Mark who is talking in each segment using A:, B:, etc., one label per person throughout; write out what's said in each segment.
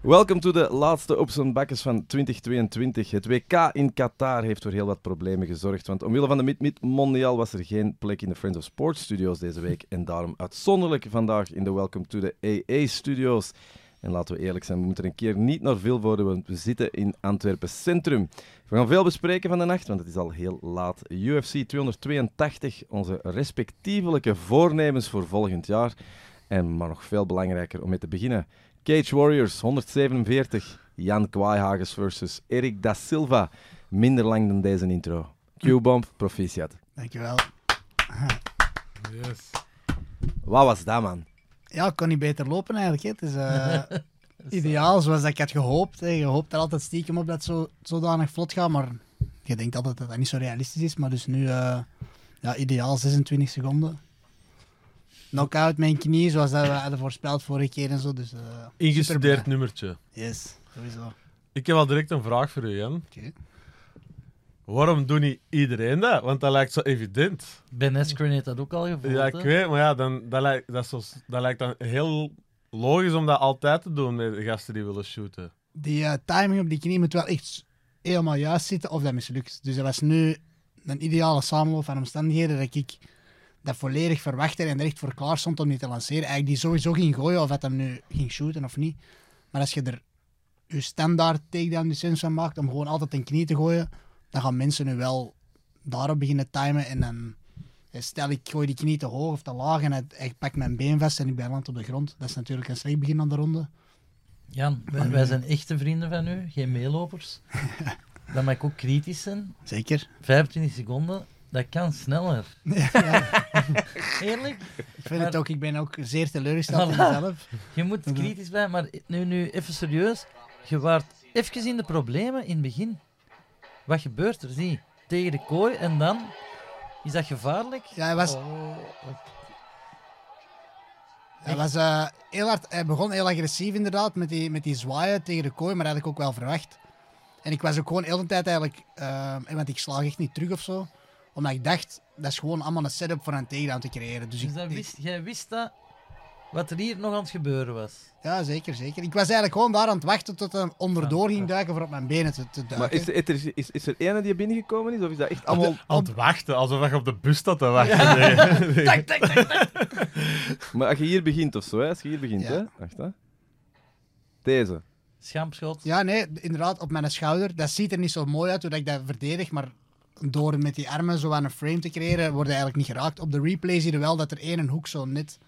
A: Welkom to de laatste op zijn bakkes van 2022. Het WK in Qatar heeft voor heel wat problemen gezorgd. Want omwille van de Mid-Mid Mondial was er geen plek in de Friends of Sports studio's deze week. En daarom uitzonderlijk vandaag in de Welcome to the AA studio's. En laten we eerlijk zijn, we moeten er een keer niet naar Vilvoorde, want we zitten in Antwerpen Centrum. We gaan veel bespreken van de nacht, want het is al heel laat. UFC 282, onze respectievelijke voornemens voor volgend jaar. En maar nog veel belangrijker om mee te beginnen. Cage Warriors 147, Jan Kwaaihagens versus Erik da Silva. Minder lang dan deze intro. Q-bomb, proficiat.
B: Dankjewel.
C: Yes.
A: Wat was dat, man?
B: Ja, ik kon niet beter lopen eigenlijk. hè. Het is eh, ideaal zoals dat ik had gehoopt. hè. Je hoopt er altijd stiekem op dat het zo, zodanig vlot gaat, maar je denkt altijd dat dat niet zo realistisch is. Maar dus nu, eh, ja, ideaal 26 seconden. Knockout mijn knie, zoals dat we hadden voorspeld vorige keer en zo. Dus, eh,
C: Ingestudeerd nummertje.
B: yes, sowieso.
C: Ik heb al direct een vraag voor u, Jan.
B: Oké.
C: Waarom doet niet iedereen dat? Want dat lijkt zo evident.
D: Ben Askren heeft dat ook al gevoeld.
C: Ja, ik
D: hè?
C: weet, maar ja, dan, dat, lijkt, dat, is zo, dat lijkt dan heel logisch om dat altijd te doen met de gasten die willen shooten.
B: Die eh, timing op die knie moet wel echt helemaal juist zitten of dat mislukt. Dus dat was nu een ideale samenloop van omstandigheden dat ik dat volledig verwachtte en er echt voor klaar stond om die te lanceren. Eigenlijk die sowieso ging gooien of dat hem nu ging shooten of niet. Maar als je er je standaard takedown distance van maakt om gewoon altijd een knie te gooien, dan gaan mensen nu wel daarop beginnen timen en dan eh, stel ik gooi die knie te hoog of te laag en het, ik pak mijn been vast en ik ben land op de grond. Dat is natuurlijk een slecht begin aan de ronde.
D: Jan, wij, wij zijn echte vrienden van u, geen meelopers. Dan mag ik ook kritisch zijn.
B: Zeker.
D: 25 seconden, dat kan sneller. Eerlijk?
B: Ik vind het
D: Maar-
B: ook, ik ben ook zeer teleurgesteld in
D: Voilà.
B: mezelf.
D: Je moet kritisch zijn, maar nu, nu even serieus. Je waart even in de problemen in het begin. Wat gebeurt er? Zie, tegen de kooi en dan? Is dat gevaarlijk?
B: Ja, hij was,
D: Oh,
B: hij was eh, heel hard, hij begon heel agressief inderdaad met die, met die zwaaien tegen de kooi, maar dat had ik ook wel verwacht. En ik was ook gewoon heel de tijd eigenlijk, eh, want ik slaag echt niet terug of zo, omdat ik dacht, dat is gewoon allemaal een setup voor een takedown te creëren. Dus,
D: dus
B: ik,
D: dat
B: ik-
D: wist, jij wist dat, wat er hier nog aan het gebeuren was.
B: ja, zeker, zeker. Ik was eigenlijk gewoon daar aan het wachten tot hij onderdoor ging duiken voor op mijn benen te, te duiken.
A: Maar is, is, is, is er ene die binnengekomen is, of is dat echt allemaal...
C: Aan het wachten, alsof je op de bus staat te wachten. Nee.
D: Tak, tak, tak, tak.
A: Maar als je hier begint of zo, hè? als je hier begint,
B: Ja.
A: hè? Wacht, hè? Deze.
D: Schampschot.
B: Ja, nee, inderdaad, op mijn schouder. Dat ziet er niet zo mooi uit hoe dat ik dat verdedig, maar door met die armen zo aan een frame te creëren, wordt hij eigenlijk niet geraakt. Op de replay zie je wel dat er één hoek zo net,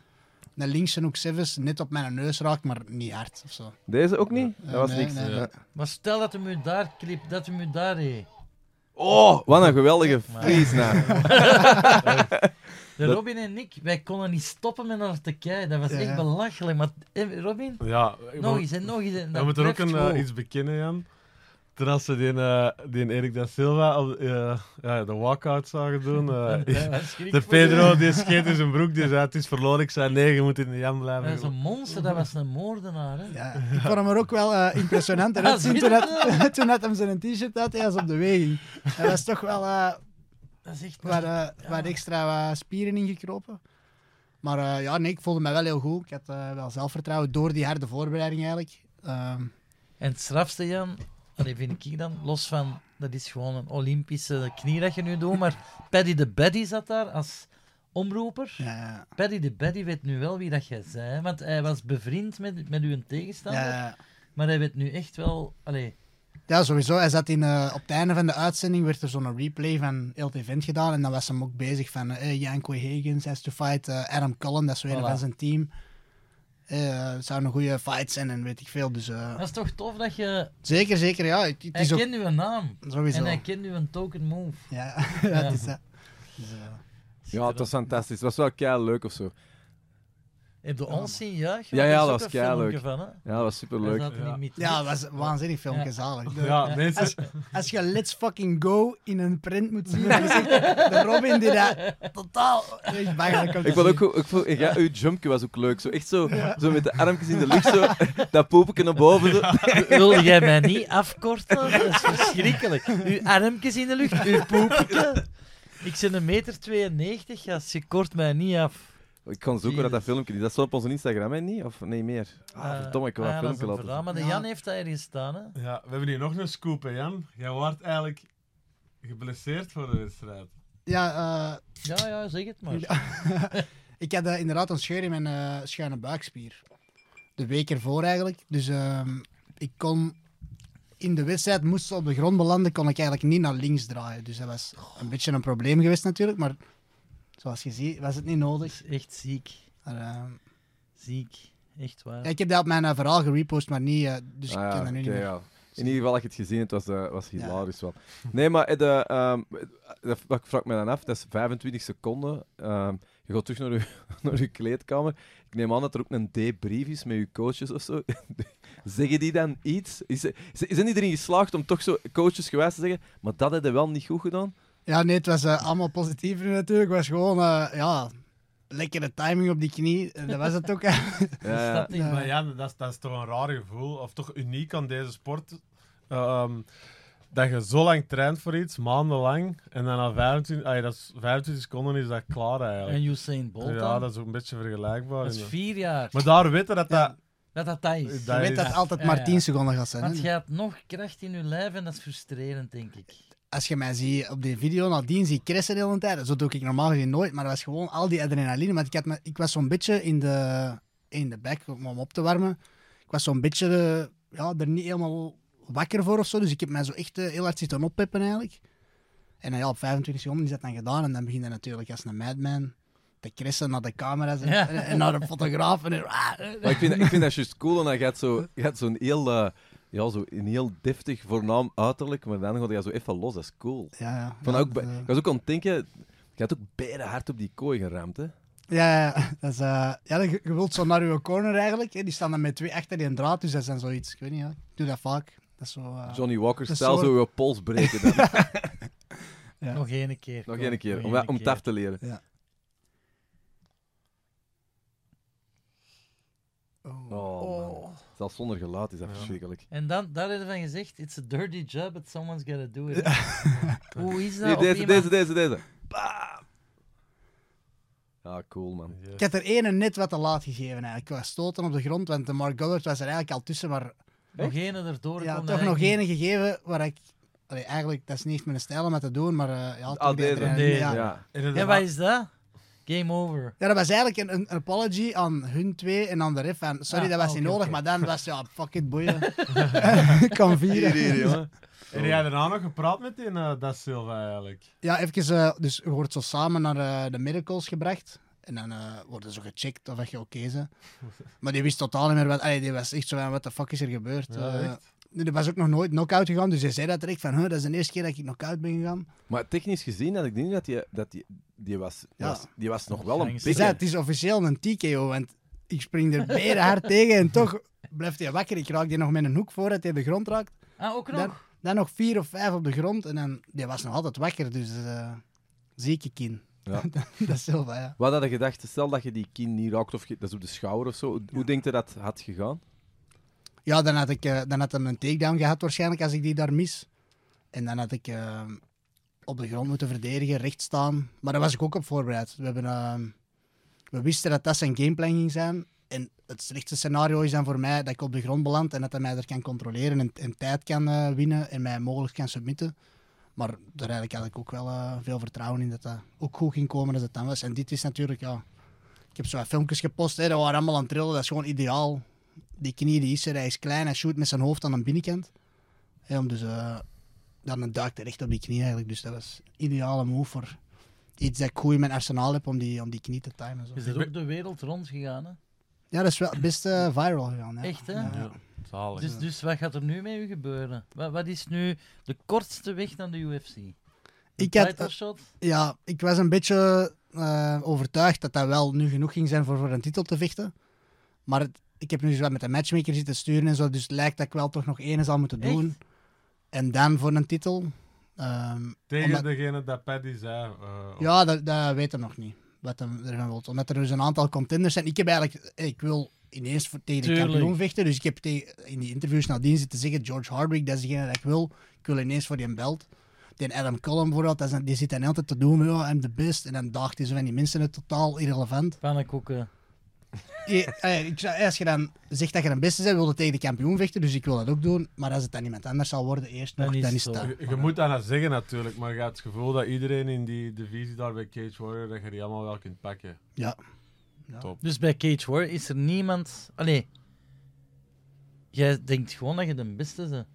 B: een linkse hoek Sevis, net op mijn neus raakt, maar niet hard of zo.
A: Deze ook niet? Dat was
B: nee,
A: niks.
B: nee.
A: Ja.
D: Maar stel dat hem u daar klipt, dat hem u daar deed.
A: Oh, wat een geweldige
D: Maar-
A: freeze nou.
D: De
A: Dat-
D: Robin en ik, wij konden niet stoppen met naar te kijken. Dat was
B: Ja,
D: echt
B: ja.
D: belachelijk. Maar eh, Robin,
C: Ja,
D: nog eens en nog eens. En
C: We
D: dat
C: moeten ook
D: blijft
C: een, eh,
D: gewoon.
C: iets bekennen, Jan. Toen als ze die, eh, die Erik da Silva op, eh, ja, de walkout zagen doen. eh,
D: Ja, dat is schrik
C: de
D: voor die-
C: Pedro die scheet in zijn broek, die zei: Het is verloren. Ik zei: Nee, je moet in de Jan
D: Dat
C: blijven.
D: was een monster, dat was een moordenaar. Hè.
B: Ja, ik vond hem er ook wel eh, impressionant
D: Ah,
B: eruit zien
D: zie
B: toen,
D: je
B: dat, toen dat hem zijn t-shirt had, hij was op de weging. Hij was toch wel eh,
D: Dat is echt...
B: wat, eh, wat extra eh, spieren ingekropen. Maar eh, ja, nee, ik voelde me wel heel goed. Ik had eh, wel zelfvertrouwen door die harde voorbereiding eigenlijk. Ehm,
D: En het strafste, Jan, allee, vind ik dan, los van, dat is gewoon een Olympische knie dat je nu doet, maar Paddy de Baddy zat daar als omroeper.
B: ja,
D: Paddy de Baddy weet nu wel wie dat jij bent, want hij was bevriend met, met uw tegenstander,
B: ja,
D: maar hij weet nu echt wel... Allee,
B: Eh, Ja, sowieso. Hij zat in, eh, op het einde van de uitzending werd er zo'n replay van heel het event gedaan. En dan was hem ook bezig van eh Janko Higgins has to fight eh, Adam Cullen. Dat is weer een
D: Voilà.
B: van zijn team. Eh, het zou een goede fight zijn en weet ik veel. Dus eh,
D: dat is toch tof dat je...
B: zeker, zeker. Ja, het, het
D: Hij
B: is ook
D: kent uw naam.
B: sowieso.
D: En hij kent nu een token move.
B: Ja, dat is dat. Dus, eh,
A: Ja, het was fantastisch. Het was wel kei leuk of zo.
D: Heb je ons zien juichen?
A: Ja,
D: Want
A: ja,
D: er is
A: dat
D: ook
A: was
D: een
A: keileuk.
D: filmpje Van, hè?
A: Ja, dat was superleuk.
D: Hij zat er
C: Ja.
D: niet mee te
B: ja,
D: doen.
B: dat was een waanzinnig filmpje, zalig. De-
C: Ja, mensen.
B: Als je Let's Fucking Go in een print moet zien, dan is echt de Robin die dat totaal... Echt bangelijk komt
A: Ik vond ook, goed- ik vond, ja, uw jumpje was ook leuk. Zo echt zo, zo met de armpjes in de lucht, zo, dat poepje naar boven. Zo.
D: Wil jij mij niet afkorten? Dat is verschrikkelijk. Uw armpjes in de lucht, uw poepje. Ik ben een meter 92, gast. Je kort mij niet af.
A: Ik kan zoeken naar dat
D: Jezus.
A: filmpje is. Dat staat op onze Instagram, hè? Niet? Of nee, meer? Ah,
D: Eh,
A: verdomme, ik wil
D: ah
A: dat
D: ja, dat is
A: filmpje
D: een
A: laten zien.
D: verhaal, Maar de
B: Ja.
D: Jan heeft dat ergens staan, hè?
C: Ja, we hebben hier nog een scoop, hè, Jan. Jij wordt eigenlijk geblesseerd voor de wedstrijd.
B: Ja, eh,
D: Ja, ja, zeg het maar.
B: ik had eh, inderdaad een scheur in mijn eh, schuine buikspier. De week ervoor eigenlijk. Dus ehm, ik kon in de wedstrijd, moest ze op de grond belanden, kon ik eigenlijk niet naar links draaien. Dus dat was een beetje een probleem geweest natuurlijk. Maar zoals je ziet, was het niet
D: Dat
B: nodig.
D: is echt ziek.
B: Maar, ehm,
D: Ziek. Echt waar.
B: ja, ik heb dat op mijn eh, verhaal gerepost, maar niet. eh, dus
A: Ah, ja,
B: ik ken dat nu
A: oké,
B: niet meer.
A: ja. In ieder geval, als je het gezien hebt, was, eh, was
B: Ja.
A: hilarisch wel. Nee, maar eh, de, ehm, dat dat vraag ik me dan af. Dat is 25 seconden. Ehm, je gaat terug naar je, naar je kleedkamer. Ik neem aan dat er ook een debrief is met je coaches of zo. zeggen die dan iets? Is, is- zijn die erin geslaagd om toch zo coaches gewijs te zeggen, maar dat hebben we wel niet goed gedaan?
B: Ja, nee, het was eh, allemaal positief nu natuurlijk. Het was gewoon, eh, ja, lekkere timing op die knie. Eh, Dat was het ook. eh.
A: Ja, ja.
D: Snap je?
B: Ja.
D: Maar
C: Maar ja, dat is, dat is toch een raar gevoel, of toch uniek aan deze sport. Ehm, dat je zo lang traint voor iets, maandenlang, en dan na 25, ah ja, dat is 25 seconden is dat klaar
D: En
C: eigenlijk.
D: Usain Bolt
C: Ja,
D: dan?
C: dat is ook een beetje vergelijkbaar.
D: Dat is
C: inderdaad.
D: vier jaar.
C: Maar daar weten dat dat...
D: Dat dat dat is.
B: Je
C: Dat
B: weet
C: is-
B: dat het altijd
D: Ja,
B: maar
D: ja.
B: 10 seconden gaat zijn.
D: Want
B: hè.
D: je hebt nog kracht in je lijf en dat is frustrerend, denk ik.
B: Als je mij ziet op die video nadien, zie ik Chris er de hele tijd. Zo doe ik normaal gezien nooit, maar dat was gewoon al die adrenaline. Want ik, had me, ik was zo'n beetje in de, in de bek om om op te warmen. Ik was zo'n beetje eh, ja, er niet helemaal wakker voor of zo. Dus ik heb mij zo echt eh, heel hard zitten oppeppen eigenlijk. En dan, ja, op 25 seconden is dat dan gedaan. En dan begint dat natuurlijk als een madman te crissen naar de camera's en,
D: Ja.
B: en- en naar de fotograaf. En, ah, eh,
A: Maar ik vind, ik vind dat juist cool, en dan gaat zo, gaat zo'n heel, eh, ja, zo een heel deftig voornaam uiterlijk, maar dan gaat hij zo even los, dat is cool.
B: ja, ja,
A: Ik, vond
B: Ja,
A: ook, bij-
B: dat, eh,
A: ik was ook aan het denken, je had ook bijna hard op die kooi geramd, hè?
B: Ja, ja, ja. dat is, eh, ja, je je wilt zo naar uw corner eigenlijk. Hè. Die staan dan met twee achter die een draad, dus dat zijn zoiets. Ik weet niet, ja. ik doe dat vaak. Dat is zo... eh,
A: Johnny Walker,
B: Dat is
A: stel
B: zo-
A: zo je pols breken. Dan.
B: Ja.
D: Nog één keer.
A: Nog
D: kom.
A: één keer,
D: één
A: om, om het af te leren.
B: oh.
A: Oh, man. Zelfs zonder geluid is dat
C: Ja.
A: verschrikkelijk.
D: En dan, daar hebben van gezegd, it's a dirty job, but someone's gotta do it. Hoe is dat?
A: Hier,
D: op
A: deze,
D: iemand-
A: deze, deze, deze. Bam! Ja, cool, man.
B: Ik had er ene net wat te laat gegeven eigenlijk. Ik was stoten op de grond, want de Mark Goddard was er eigenlijk al tussen. Maar
D: Nog ene erdoor.
B: ja,
D: kon
B: toch nog
D: eigenlijk
B: ene gegeven waar ik... Allee, eigenlijk, dat is niet echt mijn stijl om dat te doen, maar... eh, ja, toch
A: Ah,
B: die
A: deze.
B: adrenaline,
D: Deze,
B: ja.
A: Ja.
B: Ja.
D: niet. En wat is dat? Game over.
B: dat was eigenlijk een, een apology aan hun twee en aan de ref. En sorry,
D: Ah,
B: dat was
D: ah,
B: niet
D: oké,
B: nodig,
D: oké.
B: maar dan was ja, fuck it, boeien. Ik kan vieren.
A: Hier, hier, jongen.
C: Heb jij daarna nog gepraat met die eh, Da Silva eigenlijk?
B: Ja, even, eh, dus je wordt zo samen naar eh, de medicals gebracht. En dan eh, worden ze gecheckt of dat je oké bent. Maar die wist totaal niet meer wat. allee, die was echt zo van, wat de fuck is er gebeurd?
C: Ja,
B: Eh,
C: echt?
B: nee, die was ook nog nooit knock-out gegaan. Dus hij zei dat direct van, huh, dat is de eerste keer dat ik knock-out ben gegaan.
A: Maar technisch gezien had ik niet dat die, dat die, die, was, die,
B: Ja.
A: was, die was nog wel een
D: Gangster.
B: Ze zei,
A: pikker.
B: Dus het is officieel een TKO, want ik spring er beren hard tegen. En toch blijft hij wakker. Ik raak die nog met een hoek voordat hij de grond raakt.
D: Ah, ook nog?
B: Dan, dan nog vier of vijf op de grond. En dan, die was nog altijd wakker, dus eh zie ik in.
A: Ja.
B: dat is Silva, ja.
A: Wat had je gedacht, stel dat je die kin niet raakt, of je- dat is op de schouder of zo, hoe- hoe denkt je dat had gegaan?
B: Ja, dan had ik eh, dan had hem een takedown gehad waarschijnlijk als ik die daar mis. En dan had ik eh, op de grond moeten verdedigen, recht staan. Maar daar was ik ook op voorbereid. We, hebben, eh, we wisten dat dat zijn gameplan ging zijn. En het slechtste scenario is dan voor mij dat ik op de grond beland en dat hij mij er kan controleren en, en tijd kan eh, winnen en mij mogelijk kan submitten. Maar daar eigenlijk had ik ook wel eh, veel vertrouwen in dat dat ook goed ging komen als het dan was. En dit is natuurlijk, ja... Ik heb zo wat filmpjes gepost, hè, dat waren allemaal aan het trillen. Dat is gewoon ideaal die knie die is er, hij is klein, hij shoot met zijn hoofd aan de binnenkant. Hè, om dus, eh, dan duikt hij recht op die knie eigenlijk. Dus dat was een ideale move voor iets dat ik goed in mijn arsenaal heb om die, om die knie te timen. Zo.
D: Je bent ook de wereld rond gegaan, hè?
B: Ja, dat is wel best eh, viral gegaan. Ja.
D: Echt, hè?
B: Ja, ja.
C: Ja. Zalig.
D: Dus, dus wat gaat er nu met u gebeuren? Wat, wat is nu de kortste weg naar de UFC? Een
B: Ik had-
D: title shot?
B: Ja, ik was een beetje eh, overtuigd dat dat wel nu genoeg ging zijn voor, voor een titel te vechten. Maar het- ik heb nu eens wat met de matchmaker zitten sturen en zo, dus het lijkt dat ik wel toch nog één zal moeten doen.
D: Echt?
B: En dan voor een titel. Ehm,
C: Tegen
B: Omdat-
C: degene dat Paddy zei. eh,
D: Oh.
C: of-
B: Ja, dat, dat weten we nog niet. Wat hem ervan wil. Omdat er dus een aantal contenders zijn. Ik heb eigenlijk. Ik wil ineens voor- tegen de
D: Tuurlijk.
B: kampioen vechten. Dus ik heb tegen- in die interviews nadien zitten zeggen: George Hardwick, dat is degene dat ik wil. Ik wil ineens voor die belt. Die Adam Cullen bijvoorbeeld, dat is een- die zit dan altijd te doen, ja, I'm the best. En dan daagt hij zo van die mensen het totaal irrelevant.
D: Pannenkoeken.
B: Je- eh, ik zou- als je dan zegt dat je een beste bent, wil je tegen de kampioen vechten, dus ik wil dat ook doen. Maar als het dan iemand anders zal worden, eerst
D: Dan
B: nog,
D: is
B: dan
D: het
B: is
D: zo.
B: het dat.
C: Je, je moet dat nou zeggen natuurlijk, maar je hebt het gevoel dat iedereen in die divisie daar bij Cage Warrior, dat je die allemaal wel kunt pakken.
B: Ja.
D: Dus bij Cage War is er niemand. Allee. Jij denkt gewoon dat je de beste bent.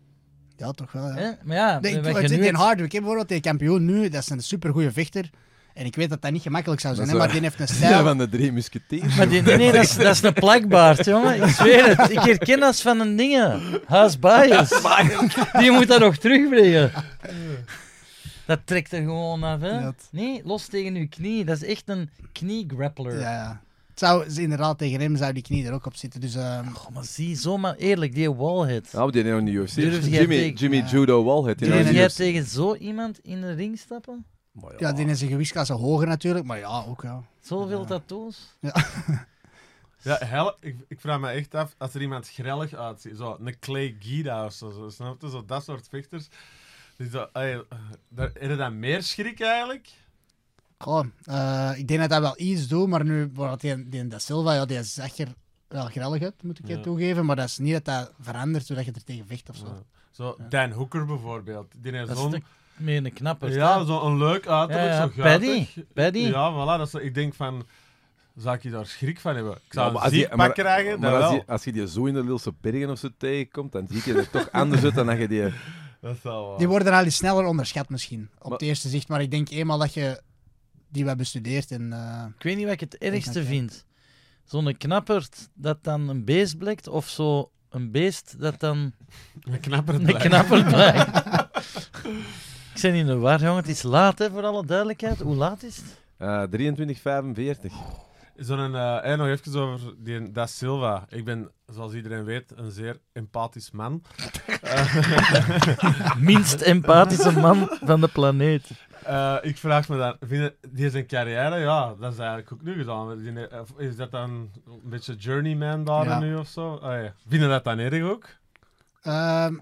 B: ja, toch wel. Ja.
D: Hè? Maar ja,
B: Nee, ik,
D: wat je
B: het zit
D: nu
B: in
D: hebt-
B: Hardwick, hè, bijvoorbeeld, die kampioen nu, dat is een supergoeie vechter. En ik weet dat dat niet gemakkelijk zou zijn,
A: Dat is
B: hè, maar
A: waar.
B: die heeft een
A: Ja,
B: stijl.
A: van de drie musketeers.
D: Maar die, nee, nee, dat is, dat is een plakbaard, jongen. Ik zweer het. Ik herken dat van een dingen. Haas Bias. Die moet dat nog terugbrengen. Dat trekt er gewoon af, hè?
B: Dat-
D: Nee, los tegen uw knie. Dat is echt een kniegrappler.
B: Ja, ja. Het zou ze inderdaad tegen hem zou die knie er ook op zitten. Dus ehm,
D: Oh, maar zie, zomaar eerlijk, die wallhead.
A: Ah, maar die hebben nog niet UFC.
D: Durf jij
A: Jimmy,
D: tegen-
A: Jimmy
B: Ja.
A: Judo Walhead. Die dus-
B: Durf
A: hebben nog
D: Durf jij
A: niet
D: tegen zo iemand in de ring stappen?
A: UFC.
B: ja, die is een gewichtsklasse hoger natuurlijk, maar ja, ook ja.
D: Zoveel tattoos?
C: Ja, hel- ik, ik vraag me echt af, als er iemand grellig uitziet, zo een Clay Guida of zo, zo, snap je? Zo dat soort vechters. Die zo, ey, daar, heb je dan meer schrik eigenlijk?
B: Goh, eh, ik denk dat dat wel iets doet, maar nu, bijvoorbeeld die, die Da Silva, ja, die zag er wel grellig uit, moet ik je
C: Ja.
B: toegeven. Maar dat is niet dat dat verandert zodat je er tegen vecht of zo.
C: Ja. Zo Dan Hooker bijvoorbeeld. Die heeft
D: Dat is
C: zo'n
D: een- meer een knapper.
C: Ja, zo'n leuk uiterlijk,
D: Ja, ja,
C: zo guitig.
D: Paddy, Paddy.
C: Ja, voilà. Dat is, ik denk van, zou ik je daar schrik van hebben?
A: Ja,
C: Ik zou
A: maar
C: een
A: als je-
C: ziek
A: maar-
C: pak krijgen,
A: Maar
C: dat
A: als
C: wel.
A: je, als je die zo in de Lilse Bergen of zo tegenkomt, dan zie je er toch anders uit dan dat je die...
C: Dat is wel waar.
B: Die worden al iets sneller onderschat misschien, op
A: Maar-
B: het eerste zicht. Maar ik denk eenmaal dat je die wat bestudeert en... eh,
D: Ik weet niet wat ik het
B: Ik
D: ergste
B: denk
D: vind. Zo'n knapperd dat dan een beest blikt, of zo een beest dat dan
C: eh, Een knapper
D: een
C: blijft.
D: knapper blijkt. ik ben in de war, jongen. Het is laat, hè, voor alle duidelijkheid. Hoe laat is het?
A: Eh 2345.
C: Zo'n, eh, hey, nog even over die, dat Silva. Ik ben, zoals iedereen weet, een zeer empathisch man.
D: Minst empathische man van de planeet.
C: Eh, ik vraag me dan, vind je- die zijn carrière, ja, dat is eigenlijk ook nu gedaan. Die- eh, Is dat dan een beetje journeyman daar
B: Ja.
C: nu of zo? Ah, ja. Vind je dat dan erg ook?
B: Ehm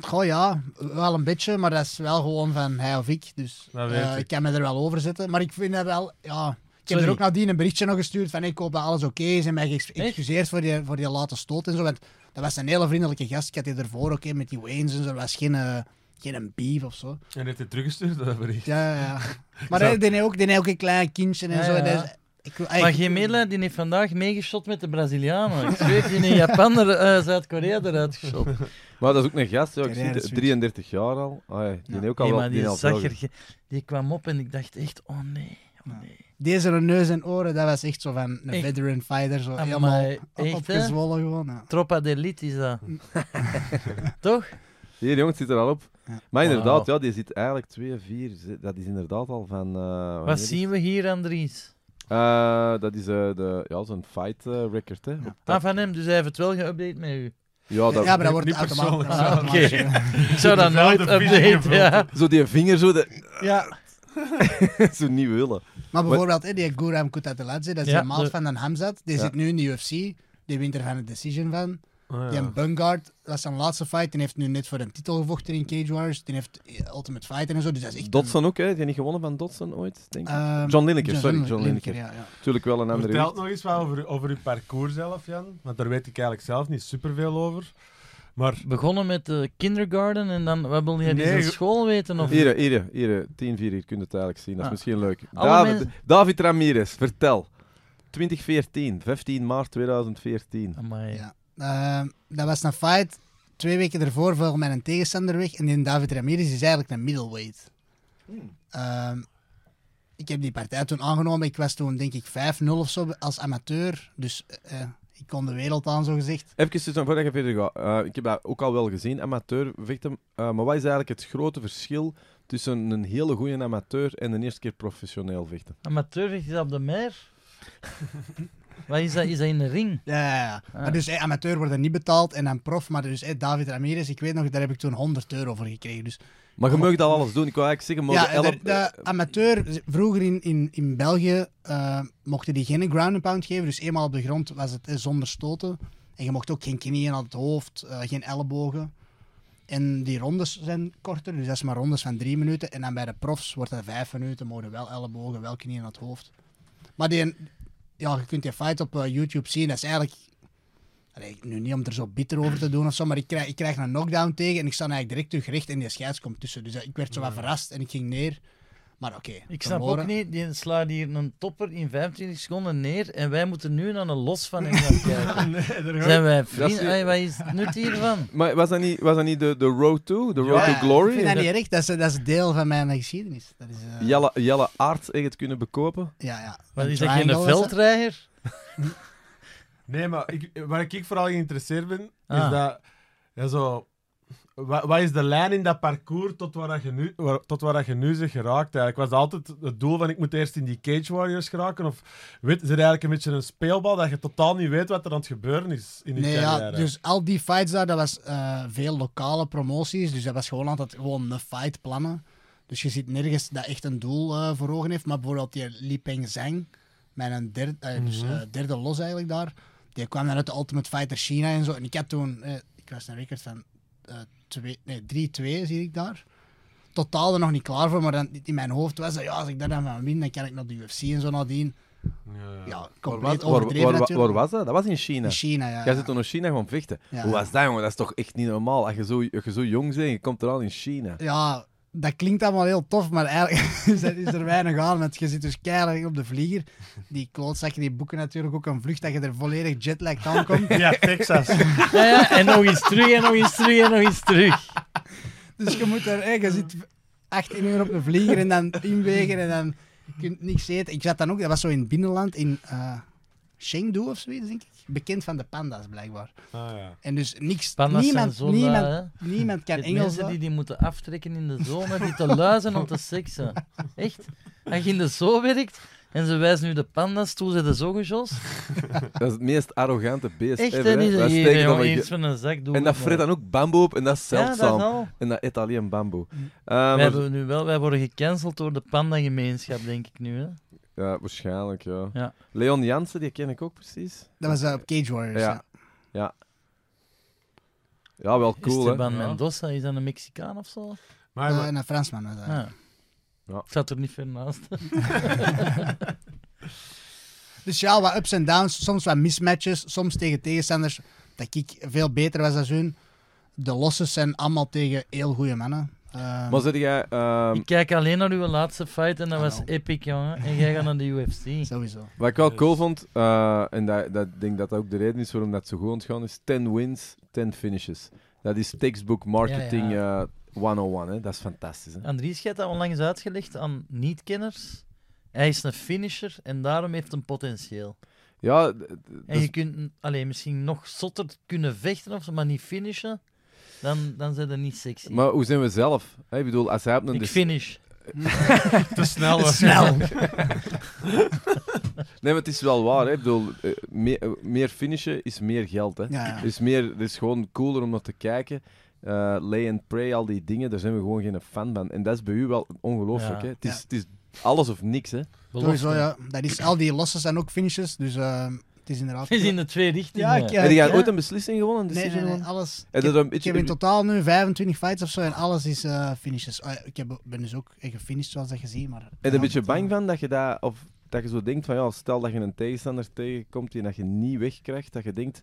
B: goh, ja, wel een beetje, maar dat is wel gewoon van hij of ik. Dus
C: Dat weet
B: eh,
C: ik.
B: ik kan me er wel over zitten. Maar ik vind dat wel, ja. Ik heb
D: Sorry.
B: er ook nadien een berichtje nog gestuurd van ik hoop dat alles oké is en mij geëxcuseerd voor die, voor die late stoot en zo. Want dat was een hele vriendelijke gast. Ik had die ervoor ook hè, met die Waynes en zo. Er was geen, eh, geen beef of zo.
C: En heeft hij teruggestuurd, dat bericht?
B: Ja, ja, ja. Maar
C: Zo.
B: hij deed ook, die heeft ook een klein kindje en
D: Ja,
B: zo.
D: ja.
B: Dat is- ik, wil eh,
D: Maar
B: eigenlijk-
D: geen medelijden, die heeft vandaag meegeschot met de Brazilianen. Ik zweer, die in Japan, er, eh, Zuid-Korea eruit geschot.
A: Maar dat is ook een gast, ja, ik
B: Carrière
A: zie het,
B: switch.
A: 33 jaar al. Ah, ja, die
B: Ja.
A: heeft ook al
D: Nee,
A: wel-
D: maar
A: die
D: die,
A: al
D: zag
A: veel-
D: er, ge- die kwam op en ik dacht echt, oh nee, oh nee.
B: Deze neus en oren, dat was echt zo van een
D: Echt.
B: veteran fighter. Zo
D: Amai,
B: helemaal
D: echt, hè?
B: opgezwollen gewoon. Ja.
D: Tropa d'élite is dat. Toch?
A: Hier, jongens, zit er al op.
B: Ja.
A: Maar inderdaad,
D: Wauw.
A: ja, die zit eigenlijk 2, 4. Dat is inderdaad al van. eh, wanneer
D: Wat
A: is-
D: zien we hier, Andries?
A: Eh, dat is eh, de, ja, zo'n fight eh, record. Hè. Op dat-
D: Ah, van hem, dus hij heeft het wel geüpdate met u.
A: ja, dat,
B: ja, maar dat wordt
C: niet
B: automatisch.
C: persoonlijk.
D: Ah, oké.
B: automatisch, ja.
D: Ik zou dat
C: Ik heb wel
D: nooit
C: de visie
D: updaten,
C: gevuld.
D: ja.
A: Zo die vinger zo, de,
D: ja.
A: zo niet willen.
B: Maar bijvoorbeeld, hè, die Guram Kutateladze, dat is
D: Ja,
B: de maat
D: de-
B: van een Hamzat. Die
A: Ja.
B: zit nu in de UFC. Die wint er van een decision van.
C: Ah,
B: Die
C: ja.
B: een Bungard, dat is zijn laatste fight. Die heeft nu net voor een titel gevochten in Cage Wars. Die heeft eh, Ultimate Fighter en zo. Dus dat is echt...
A: Dodson ook, hè? Heb je niet gewonnen van Dodson ooit? Denk ik.
D: Eh,
B: een- ehm,
A: John Lineker, sorry,
B: Lin-
A: John Lineker.
B: Ja, ja.
A: Natuurlijk wel een andere.
C: Vertel
A: wicht.
C: nog eens wat over, over uw parcours zelf, Jan. Want daar weet ik eigenlijk zelf niet superveel over. Maar
D: Begonnen met de kindergarten en dan, wat wil jij die
C: Nee,
D: van
C: ge-
D: school weten? Of...
A: Hier, hier, hier, 10 4 hier kun je het eigenlijk zien. Dat is
D: Ah.
A: misschien leuk.
D: Alle
A: David,
D: mensen-
A: David Ramirez, vertel. 2014, 15 maart 2014.
D: Amai.
B: Ja. Ehm, dat was een fight. Twee weken ervoor viel mijn tegenstander weg. En die David Ramirez is eigenlijk een middleweight. Ehm, ik heb die partij toen aangenomen. Ik was toen denk ik 5-0 of zo als amateur. Dus eh, eh, ik kon de wereld aan, zo gezegd.
A: Even dus, voordat je verder gaat. Eh, ik heb dat ook al wel gezien, amateur victim. Eh, maar wat is eigenlijk het grote verschil tussen een hele goede amateur en een eerste keer professioneel vechten?
D: Amateur is dat op de mer? Wat is dat? Is dat in de ring?
B: Ja, ja, ja.
D: Ah.
B: Maar dus eh, amateur wordt er niet betaald en dan prof. Maar dus eh, David Ramirez, ik weet nog, daar heb ik toen 100 euro voor gekregen. Dus
A: Maar je mag dat alles doen. Ik wou eigenlijk zeggen,
B: ja,
A: maar
B: de, de amateur, vroeger in, in, in België eh, mochten die geen ground and pound geven. Dus eenmaal op de grond was het eh, zonder stoten. En je mocht ook geen knieën aan het hoofd, eh, geen ellebogen. En die rondes zijn korter, dus dat is maar rondes van drie minuten. En dan bij de profs wordt dat vijf minuten, mogen wel ellebogen, wel knieën aan het hoofd. Maar die, ja, je kunt die fight op eh, YouTube zien, dat is eigenlijk... Allee, nu niet om er zo bitter over te doen of zo, maar ik krijg, ik krijg een knockdown tegen en ik sta eigenlijk direct teruggericht en die scheids komt tussen. Dus eh, ik werd zo wat verrast en ik ging neer. Maar oké.
D: Ik snap
B: verloren.
D: ook niet, die slaat hier een topper in 25 seconden neer en wij moeten nu naar een los van hem gaan kijken.
C: nee, daar ga
D: Zijn
C: ik-
D: wij
A: Dat is
D: vrienden?
A: die-
D: Ai, Wat is het nut hiervan?
A: Maar was dat niet, was dat niet de, de Road to? De Road
B: Ja,
A: to Glory?
B: Ik vind dat niet erg, dat is, eh, dat is deel van mijn geschiedenis. Dat is, eh,
A: Jelle, Jelle Aert echt kunnen bekopen?
B: Ja, ja.
D: Wat
B: Een
D: is dat, geen
B: triangle was dat.
D: veldrijder?
C: Nee, maar ik, waar ik vooral geïnteresseerd ben,
D: Ah.
C: is dat... Ja, zo, wa- wat is de lijn in dat parcours tot waar, dat je, nu, waar- tot waar dat je nu zich geraakt? Eigenlijk was dat altijd het doel van ik moet eerst in die Cage Warriors geraken? Of weet, is er eigenlijk een beetje een speelbal dat je totaal niet weet wat er aan het gebeuren is in die
B: Nee, ja,
C: carrière?
B: dus al die fights daar, dat was eh, veel lokale promoties. Dus dat was gewoon altijd gewoon een fight plannen. Dus je ziet nergens dat echt een doel eh, voor ogen heeft. Maar bijvoorbeeld die Li Peng Zhang, mijn derde, eh, dus,
C: Mhm.
B: eh, derde los eigenlijk daar. Die kwam dan uit de Ultimate Fighter China en zo. En ik had toen, eh, ik was een record van eh, twee, nee, 3-2 zie ik daar. Totaal er nog niet klaar voor, maar dan, in mijn hoofd was dat, ja, als ik daar dan van win, dan kan ik naar de UFC en zo nadien.
C: Ja.
B: Ja,
A: Waar, was-
B: compleet
A: waar,
B: overdreven
A: waar- waar-
B: natuurlijk.
A: waar was dat? Dat was in China.
B: In China, ja.
A: Jij
B: ja.
A: zit toen in China gewoon vechten.
B: Ja.
A: Hoe was dat, jongen? Dat is toch echt niet normaal? Als je zo, als je zo jong bent en je komt er al in China.
B: ja, dat klinkt allemaal heel tof, maar eigenlijk is er- is er weinig aan. Want je zit dus keihard op de vlieger. Die klootzakken die boeken natuurlijk ook een vlucht dat je er volledig jetlagged aankomt.
C: Ja, Texas.
D: Ja, ja, en nog eens terug, en nog eens terug, en nog eens terug.
B: Dus je moet er, hè, je zit 18 uur op de vlieger en dan inwegen en dan je kunt niks eten. Ik zat dan ook, dat was zo in het binnenland, in eh, Chengdu of zoiets, denk ik. Bekend van de panda's blijkbaar.
C: Ah, ja.
B: En dus niks,
D: Panda's
B: niemand,
D: zijn zo
B: niemand,
D: lui,
B: niemand kan
D: Je hebt
B: Engels.
D: mensen die die moeten aftrekken in de zomer, die te lui zijn om te seksen. Echt? Als je in de zoo werkt en ze wijzen nu de panda's toe, ze de zo gejost.
A: Dat is het meest arrogante beest
D: Echt,
A: ever,
D: hè?
A: hè?
D: Niet zo
A: Dat
D: hier,
A: steken dan
D: jongen,
A: wel
D: iets
A: ge-
D: van een zak doen.
A: En dat
D: we
A: fret
D: maar.
A: dan ook bamboe op en dat is
D: Ja,
A: zeldzaam.
D: dat is al.
A: en dat eet alleen bamboe.
D: Wij,
A: Ehm,
D: hebben nu wel, wij worden gecanceld door de pandagemeenschap, denk ik nu. Hè?
A: ja, waarschijnlijk, ja.
D: Ja.
A: Leon Jansen, die ken ik ook precies.
B: Dat was eh, op Cage Warriors.
A: Ja.
B: ja.
A: Ja, wel cool, hè?
D: Esteban
C: Ja.
D: Mendoza, is dat een Mexicaan of zo?
C: Ah, Maar,
B: Eh,
C: maar-
B: een Fransman was dat.
D: Ja.
A: Ja.
D: Ik zat er niet ver naast.
B: Dus ja, wat ups en downs, soms wat mismatches, soms tegen tegenstanders dat ik veel beter was dan hun. De losses zijn allemaal tegen heel goede mannen. Ehm,
A: Maar zeg jij... ehm,
D: Ik kijk alleen naar uw laatste fight en dat was
B: Ah, nou.
D: epic, jongen. En jij gaat naar de UFC.
B: Sowieso.
A: Wat ik wel
C: Dus-
A: cool vond, eh, en dat, dat, ik denk dat dat ook de reden is waarom dat zo goed ontgaan is, 10 wins, 10 finishes. Dat is textbook marketing eh 101, hè. dat is fantastisch. Hè?
D: Andries, jij hebt dat onlangs uitgelegd aan niet-kenners. Hij is een finisher en daarom heeft een potentieel.
A: Ja, d- d-
D: En
A: dus-
D: je kunt alleen misschien nog zotter kunnen vechten of zo, maar niet finishen, dan, dan zijn dat niet sexy.
A: maar hoe zijn we zelf? Hè, Ik bedoel, als hij op een...
D: ik
A: dis-
D: finish.
C: te snel. hoor.
B: Snel.
A: Nee, maar het is wel waar. Hè? Ik bedoel, eh, meer, eh, meer finishen is meer geld. Hè?
B: Ja, ja.
A: Is meer, het is gewoon cooler om naar te kijken. Eh, lay and pray, al die dingen, daar zijn we gewoon geen fan van. En dat is bij u wel ongelooflijk.
D: Ja.
A: hè. Het, is, het is alles of niks. Hè?
B: Sowieso, ja. Dat is, al die losses zijn ook finishes, dus ehm, het is inderdaad...
D: Het is in de twee richtingen.
B: Ja, ik- ja.
A: Heb jij
D: ja.
A: ooit een beslissing gewonnen? Een
B: Nee, nee,
A: decision
B: nee,
A: gewonnen?
B: alles.
A: Heb
B: Ik
A: je
B: heb,
A: dat een
B: ik heb in
A: beetje-
B: totaal nu 25 fights of zo en alles is eh, finishes. Ah, ja, ik heb, ben dus ook eh, gefinished zoals dat je ziet, maar...
A: Ben je een beetje bang van dat je dat, of dat je zo denkt van ja, stel dat je een tegenstander tegenkomt die dat je niet wegkrijgt, dat je denkt,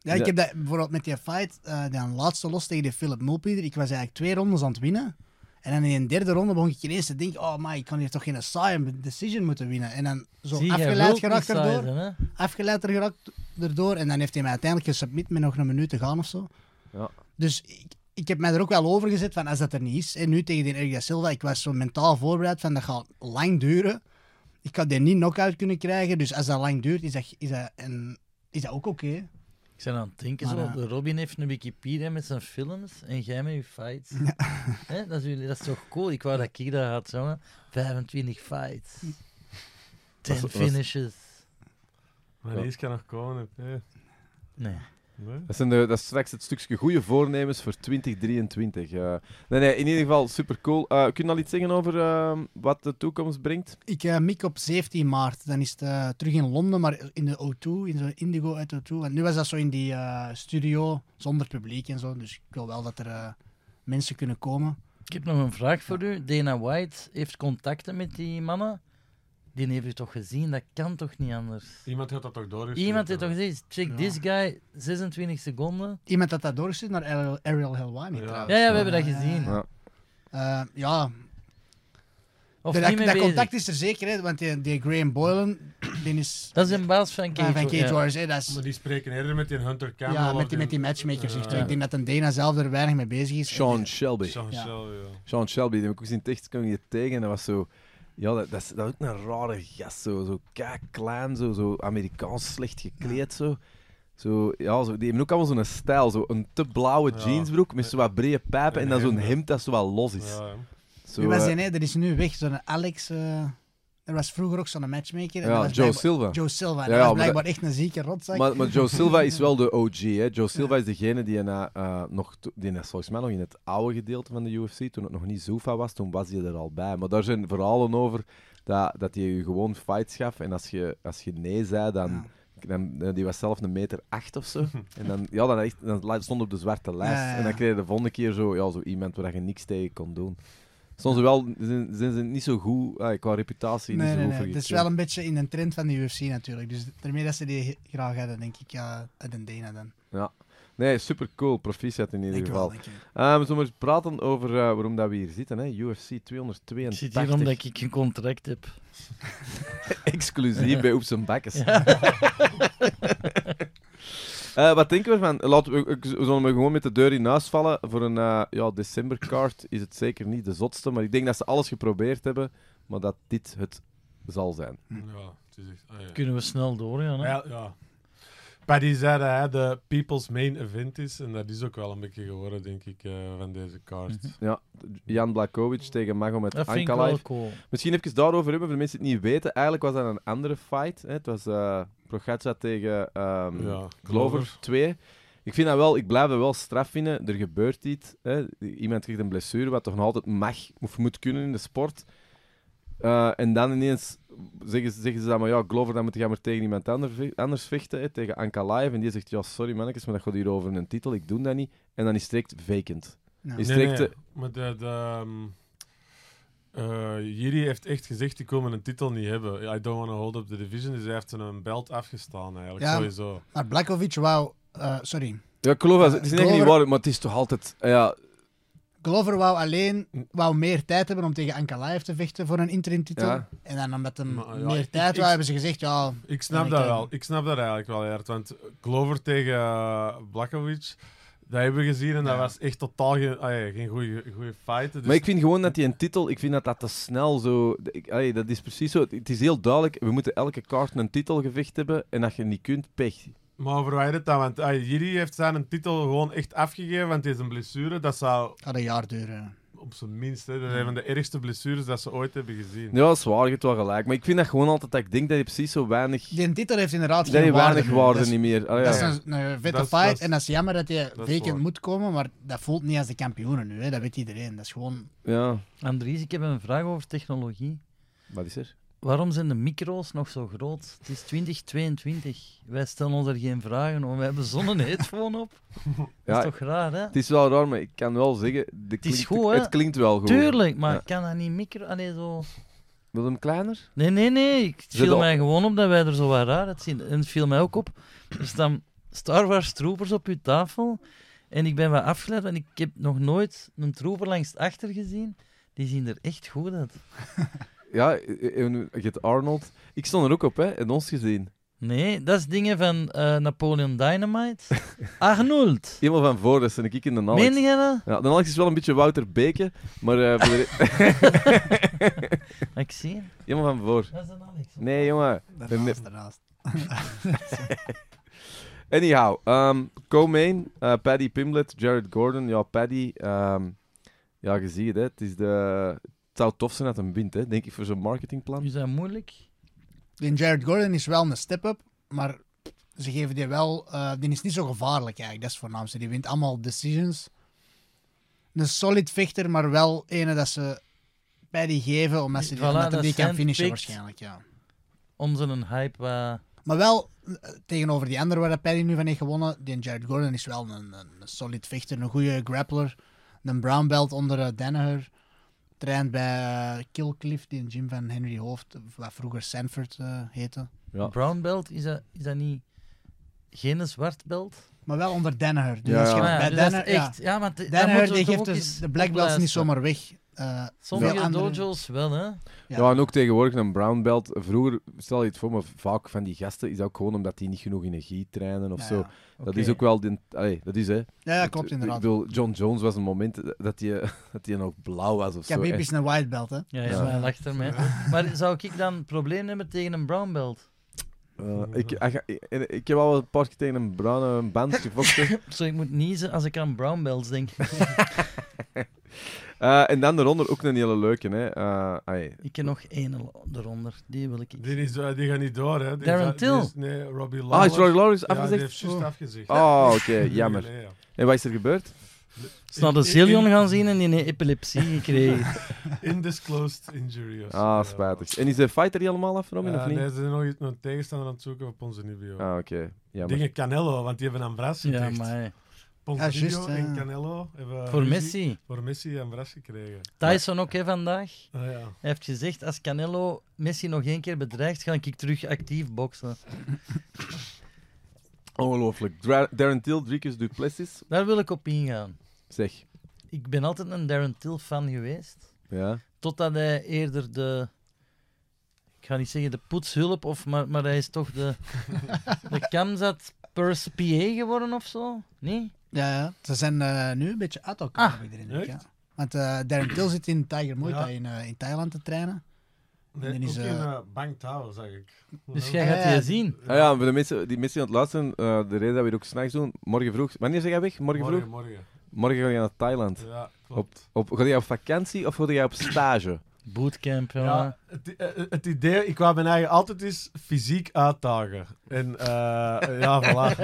B: Ja, ik
A: Ja.
B: heb dat bijvoorbeeld met die fight, eh die laatste los tegen die Philip Mulpieter. Ik was eigenlijk twee rondes aan het winnen. En dan in de derde ronde begon ik ineens te denken, oh my, ik kan hier toch geen saaie decision moeten winnen. En dan zo
D: Zie, jij
B: afgeleid
D: wilt niet
B: geraakt
D: saai
B: erdoor.
D: zijn, hè?
B: Afgeleid er geraakt erdoor. En dan heeft hij mij uiteindelijk gesubmit met nog een minuut te gaan of zo.
A: Ja.
B: Dus ik, ik heb mij er ook wel over gezet van, als dat er niet is. En nu tegen die Eric da Silva, ik was zo mentaal voorbereid van, dat gaat lang duren. Ik ga die niet knock-out kunnen krijgen. Dus als dat lang duurt, is dat, is dat, een, is dat ook oké.
D: Ik ben aan het denken,
B: Maar,
D: zo,
B: eh,
D: de Robin heeft een Wikipedia met zijn films en jij met je fights. Hè, dat, is, jullie- dat is toch cool? Ik wou dat ik dat had, jongen. 25 fights. 10
A: was-
D: finishes.
C: Maar die is kan nog komen. Hè.
D: Nee.
C: Nee?
A: Dat, zijn de, dat is straks het stukje goede voornemens voor 2023. eh. nee, nee, in ieder geval super cool. kun je al iets zeggen over eh, wat de toekomst brengt?
B: Ik eh, mik op 17 maart. Dan is het eh, terug in Londen, maar in de O2, in zo'n Indigo uit O2. Want nu was dat zo in die eh, studio, zonder publiek en zo. Dus ik wil wel dat er eh, mensen kunnen komen.
D: Ik heb nog een vraag voor u. Dana White heeft contacten met die mannen. Die heeft u toch gezien? Dat kan toch niet anders?
C: Iemand had dat toch doorgestuurd?
D: Iemand heeft toch
C: hè?
D: gezien? Check
B: Ja.
D: this guy, 26 seconden.
B: Iemand had dat doorgestuurd naar Ariel, Ariel Helwani
C: Ja.
B: trouwens.
D: Ja, ja, we hebben dat gezien.
A: Ja.
B: Eh, ja,
D: Of
B: dat,
D: niet mee
B: dat
D: bezig.
B: contact is er zeker, hè, want die, die Graham Boylan, die is Ah,
D: Dat is een baas van
B: van
D: Cage.
B: Cage
D: ja.
B: Warriors. Hè, dat is,
C: Maar die spreken eerder met die Hunter Campbell.
B: ja,
C: of
B: met die, met die matchmakers.
C: Ja.
B: echt. Ik denk dat een Dana zelf er weinig mee bezig is.
A: Sean Shelby.
C: Sean
B: Ja.
C: Shell, ja.
A: Sean Shelby, die heb ik ook gezien tekst kwam je tegen en dat was zo. Ja, dat, dat, is, dat is ook een rare gast, zo, zo kei klein, zo, zo Amerikaans slecht gekleed. Zo. Zo, ja, zo, die hebben ook allemaal zo'n stijl, zo een te blauwe
C: Ja.
A: jeansbroek met zo wat brede pijpen en
C: Een
A: dan zo'n
C: hemd, hè.
A: hemd dat zo wat los is.
C: ja. ja.
A: Zo,
B: Wie was
A: eh,
B: die? Nee, er is nu weg. Zo'n Alex. eh, er was vroeger ook zo'n matchmaker.
A: ja,
B: en dat was
A: Joe
B: blijkbaar-
A: Silva.
B: Joe Silva.
A: Ja,
B: dat
A: ja,
B: was
A: maar
B: blijkbaar echt een zieke rotzak.
A: Maar, maar Joe Silva is wel de OG. Hè? Joe Silva is degene die, na, eh, nog, to- die is volgens mij nog in het oude gedeelte van de UFC, toen het nog niet Zoufa was, toen was hij er al bij. Maar daar zijn verhalen over dat, dat hij je gewoon fights gaf. En als je, als je nee zei, dan,
B: Ja.
A: dan- eh, Die was zelf een meter acht of zo. En dan, ja, dan, echt, dan la- stond op de zwarte lijst.
B: Ja, ja,
A: En dan
B: ja.
A: kreeg je de volgende keer zo, ja, zo iemand waar je niks tegen kon doen. Soms wel, zijn, zijn ze niet zo goed, eh, qua reputatie,
B: nee,
A: niet zo
B: nee,
A: goed
B: nee.
A: voor
B: Het is
A: gekend.
B: wel een beetje in een trend van de UFC natuurlijk. Dus daarmee dat ze die graag hadden, denk ik. Ja, uit een Dana dan.
A: Nee, super cool. Proficiat in ieder
B: Denk ik wel,
A: geval.
B: denk ik.
A: Ehm we zullen eens praten over eh, waarom dat we hier zitten. Hè? UFC
D: Ik
A: 282.
D: zit hier omdat ik een contract heb.
A: Exclusief bij Oeps en Bakkes. Eh, wat denken we ervan? Laten we, ik- we zullen we gewoon met de deur in huis vallen. Voor een eh, ja, decemberkaart is het zeker niet de zotste. Maar ik denk dat ze alles geprobeerd hebben. Maar dat dit het zal zijn.
C: Ja, het is echt... ah, ja.
D: Kunnen we snel doorgaan? Hè?
C: Ja, ja. Paddy zei dat hij de people's main event is. En dat is ook wel een beetje geworden, denk ik, eh, van deze kaart.
B: Mhm.
A: Ja, Jan Blakovic tegen Magomed
D: Dat vind ik wel
A: Ankalaev.
D: cool.
A: Misschien even daarover hebben, voor de mensen die het niet weten. Eigenlijk was dat een andere fight. Hè? Het was eh Prochaska tegen... ehm,
C: Ja,
A: Glover 2. Ik vind dat wel, ik blijf dat wel straf vinden. Er gebeurt iets. Hè. Iemand krijgt een blessure, wat toch nog altijd mag of moet kunnen in de sport. Eh, en dan ineens zeggen ze, zeggen ze dan maar, ja, Glover, dan moet je maar tegen iemand ander ve- anders vechten, hè, tegen Ankalaev. En die zegt, ja, sorry mannetjes, maar dat gaat hier over een titel, ik doe dat niet. En dan is het direct vacant.
B: Nou.
A: Is
C: Nee,
A: direct,
C: nee,
A: eh,
C: maar de... de ehm, eh, Jiri heeft echt gezegd, die komen een titel niet hebben. I don't want to hold up the division. Dus hij heeft een belt afgestaan, eigenlijk,
B: Ja.
C: sowieso.
B: Maar Blakovic wou... eh, sorry.
A: Ja, ik geloof dat, het is echt niet
B: Glover-
A: waar, maar het is toch altijd, ja,
B: Glover wou alleen
A: Hm.
B: wou meer tijd hebben om tegen Ankalaev te vechten voor een interim titel.
A: Ja.
B: En dan omdat hem
C: Maar ja,
B: meer
C: ik-
B: tijd
C: ik-
B: wou, hebben ze gezegd, ja...
C: Ik snap
B: Ja,
C: dat
B: ik, eh,
C: wel. Ik snap dat eigenlijk wel, Jaart. Want Glover tegen eh, Blakovic, dat hebben we gezien. En dat
B: Ja.
C: was echt totaal geen, ah, ja, geen goede fight. Dus
A: Maar ik vind gewoon dat die een titel, ik vind dat dat te snel zo. Ik, allee, dat is precies zo. Het is heel duidelijk, we moeten elke kaart een titelgevecht hebben. En als je niet kunt, pech.
C: Maar verwijder het dan, want ah, Jiri heeft zijn titel gewoon echt afgegeven, want deze blessure, dat zou
B: Gaat een jaar duren.
C: op zijn minst, hè, dat is een van de ergste blessures dat ze ooit hebben gezien.
A: Ja, zwaar, je hebt wel gelijk. Maar ik vind dat gewoon altijd dat ik denk dat je precies zo weinig.
B: Die titel heeft inderdaad
A: Dat je weinig
B: nu.
A: waarde
B: Dat is-
A: niet meer. Allee,
B: Dat
A: ja.
B: is een, een vette
C: Dat is-
B: fight
C: dat is-
B: en dat is jammer dat hij
C: waar.
B: weekend moet komen, maar dat voelt niet als de kampioenen nu, hè. dat weet iedereen. Dat is gewoon...
A: ja,
D: Andries, ik heb een vraag over technologie.
A: wat is er?
D: Waarom zijn de micro's nog zo groot? Het is 2022. Wij stellen ons er geen vragen om. We hebben zo'n headphone op. Dat
A: Ja,
D: is toch raar, hè?
A: Het is wel raar, maar ik kan wel zeggen. de klinkt-
D: is goed, hè?
A: Het klinkt wel goed.
D: Tuurlijk, maar
A: Ja.
D: kan dat niet micro... Allee, zo...
A: Wil je hem kleiner?
D: Nee, nee, nee. Ik- Het
A: Zit
D: viel
A: al-
D: mij gewoon op dat wij er zo wat raar uitzien. En het viel mij ook op. Er staan Star Wars troopers op uw tafel. En ik ben wat afgeleid, want ik heb nog nooit een trooper langs het achter gezien. Die zien er echt goed uit.
A: Ja, eh, eh, je hebt Arnold. Ik stond er ook op, hè? En ons gezien.
D: Nee, dat is dingen van eh, Napoleon Dynamite. Arnold.
A: Iemand van voor, dat ben ik in de Alex.
D: Meen jij dat?
A: Ja, de Alex is wel een beetje Wouter Beke, maar eh, voor de re-
D: Ah, Ik zie hem.
A: Iemand van voor.
D: Dat is een Alex.
A: Nee, jongen.
B: Daarnaast,
A: Nee.
B: daarnaast.
A: Anyhow, ehm co-main, eh, Paddy Pimblett, Jared Gordon. Ja, Paddy, ehm, ja, je ziet het, hè. het is de... Het zou tof zijn dat hem wint, hè, denk ik, voor zo'n marketingplan.
D: Is dat moeilijk?
B: Die Jared Gordon is wel een step-up, maar ze geven die wel... eh, die is niet zo gevaarlijk eigenlijk, dat is het voornaamste. Die wint allemaal decisions. Een solid vechter, maar wel ene dat ze bij die geven, omdat ze die,
D: Voilà,
B: omdat hem
D: dat
B: die kan
D: handpicked.
B: finishen waarschijnlijk, ja.
D: Om zo'n hype... eh,
B: Maar wel, eh, tegenover die andere waar dat Paddy nu van heeft gewonnen, die Jared Gordon is wel een, een, een solid vechter, een goede grappler. Een brown belt onder eh, Danaher. Traint bij eh, Killcliff, die een gym van Henry Hoofd, wat vroeger Sanford eh, heette.
A: Ja.
D: Brown belt, is dat, is dat niet... Geen een zwart belt?
B: Maar wel onder Danaher. Dus
A: Ja,
B: als je
A: ja.
D: Maar
B: bij
D: dus dat is
B: Danaher,
D: echt...
B: ja.
D: Ja, want de- daar
B: Danaher
D: moeten we
B: die
D: toch
B: geeft
D: ook
B: dus
D: eens
B: de black belts
D: opluisteren.
B: niet zomaar weg. Eh,
D: Sommige
B: veel andere-
D: dojos wel, hè.
A: Ja.
B: Ja.
A: en ook tegenwoordig een brown belt. Vroeger, stel je het voor, maar vaak van die gasten is dat ook gewoon omdat die niet genoeg energie trainen of
B: ja,
A: zo.
B: Eh, nou ja.
A: Dat is ook wel... Die, allee, dat is, hè.
B: Ja, ja,
A: Dat- eh,
B: klopt inderdaad.
A: Ik bedoel, John Jones was een moment dat hij dat die nog blauw was of zo.
B: Khabib
A: echt.
B: is een white belt, hè. Dus, eh,
D: Ja,
A: Ja.
D: ja, hij lacht ermee. Maar zou ik dan een probleem hebben tegen een brown belt?
A: Eh, ik, ik, ik, ik heb al een paar keer tegen een bruine band gevochten.
D: Zo, ik moet niezen als ik aan brown belts denk.
A: Eh, en dan eronder ook een hele leuke. Hè. Eh, ai,
D: Ik ken nog één eronder, die wil ik.
C: Die, is, eh, die gaat niet door, hè? Die
D: Darren
C: gaat- die
D: Till.
C: is- nee, Robbie Lawler.
A: Ah, is Roy Lawrence
C: Ja, die
A: afgezegd?
C: heeft juist
A: Oh.
C: afgezegd.
A: Oh, oké,
C: Drie
A: jammer.
C: geleden, ja.
A: En wat is er gebeurd?
D: Ze hadden
C: In-
D: Zillion
C: in-
D: gaan zien en die heeft epilepsie gekregen.
C: Indisclosed injury. of zo,
A: Ah,
C: ja.
A: spijtig. En is de fighter die allemaal afgenomen
C: eh, Ja,
A: of niet?
C: Nee, ze zijn nog iets- een tegenstander aan het zoeken op onze Nibio.
A: Ah, oké. Jammer.
C: Dingen Canelo, want die hebben een bras
D: ja,
C: gekregen.
D: maar
B: Ja,
C: Ponzinibbio
B: juist, ja.
C: en Canelo hebben
D: voor
C: eh, ruzie-
D: Messi.
C: voor Messi een bras gekregen.
D: Tyson ook hè, vandaag.
C: Ah, ja.
D: Hij heeft gezegd, als Canelo Messi nog één keer bedreigt, ga ik terug actief boksen.
A: Ongelooflijk. Dra- Darren Till, drie keer Duplessis.
D: Daar wil ik op ingaan.
A: Zeg.
D: Ik ben altijd een Darren Till fan geweest.
A: Ja.
D: Totdat hij eerder de... Ik ga niet zeggen de poetshulp, of, maar, maar hij is toch de... de Kamzat Purse PA geworden of zo? Nee?
B: Ja, ja. Ze zijn eh, nu een beetje uit elkaar,
D: Ah,
B: heb ik de indruk,
C: echt?
B: ja. Want eh, Darren Till zit in Tiger Muay
C: Ja.
B: Thai in, eh, in Thailand te trainen.
C: Nee,
B: Dan is,
C: ook
B: eh,
C: in eh, Bang Tao, zag ik.
D: Dus
C: Ja.
D: jij gaat
B: Ja,
D: die
B: ja.
D: zien.
A: Ah, ja, voor de mensen die misschien aan het luisteren, eh, de reden dat we het ook s'nachts doen, morgen vroeg. Wanneer zeg jij weg? Morgen vroeg?
C: Morgen, morgen.
A: Morgen ga je naar Thailand.
C: Ja,
A: Op,
C: klopt.
A: op, ga jij op vakantie of ga jij op stage?
D: Bootcamp, ja.
C: Ja, het, eh, het idee, ik wou mijn eigen altijd eens fysiek uitdagen. En eh, ja, voilà.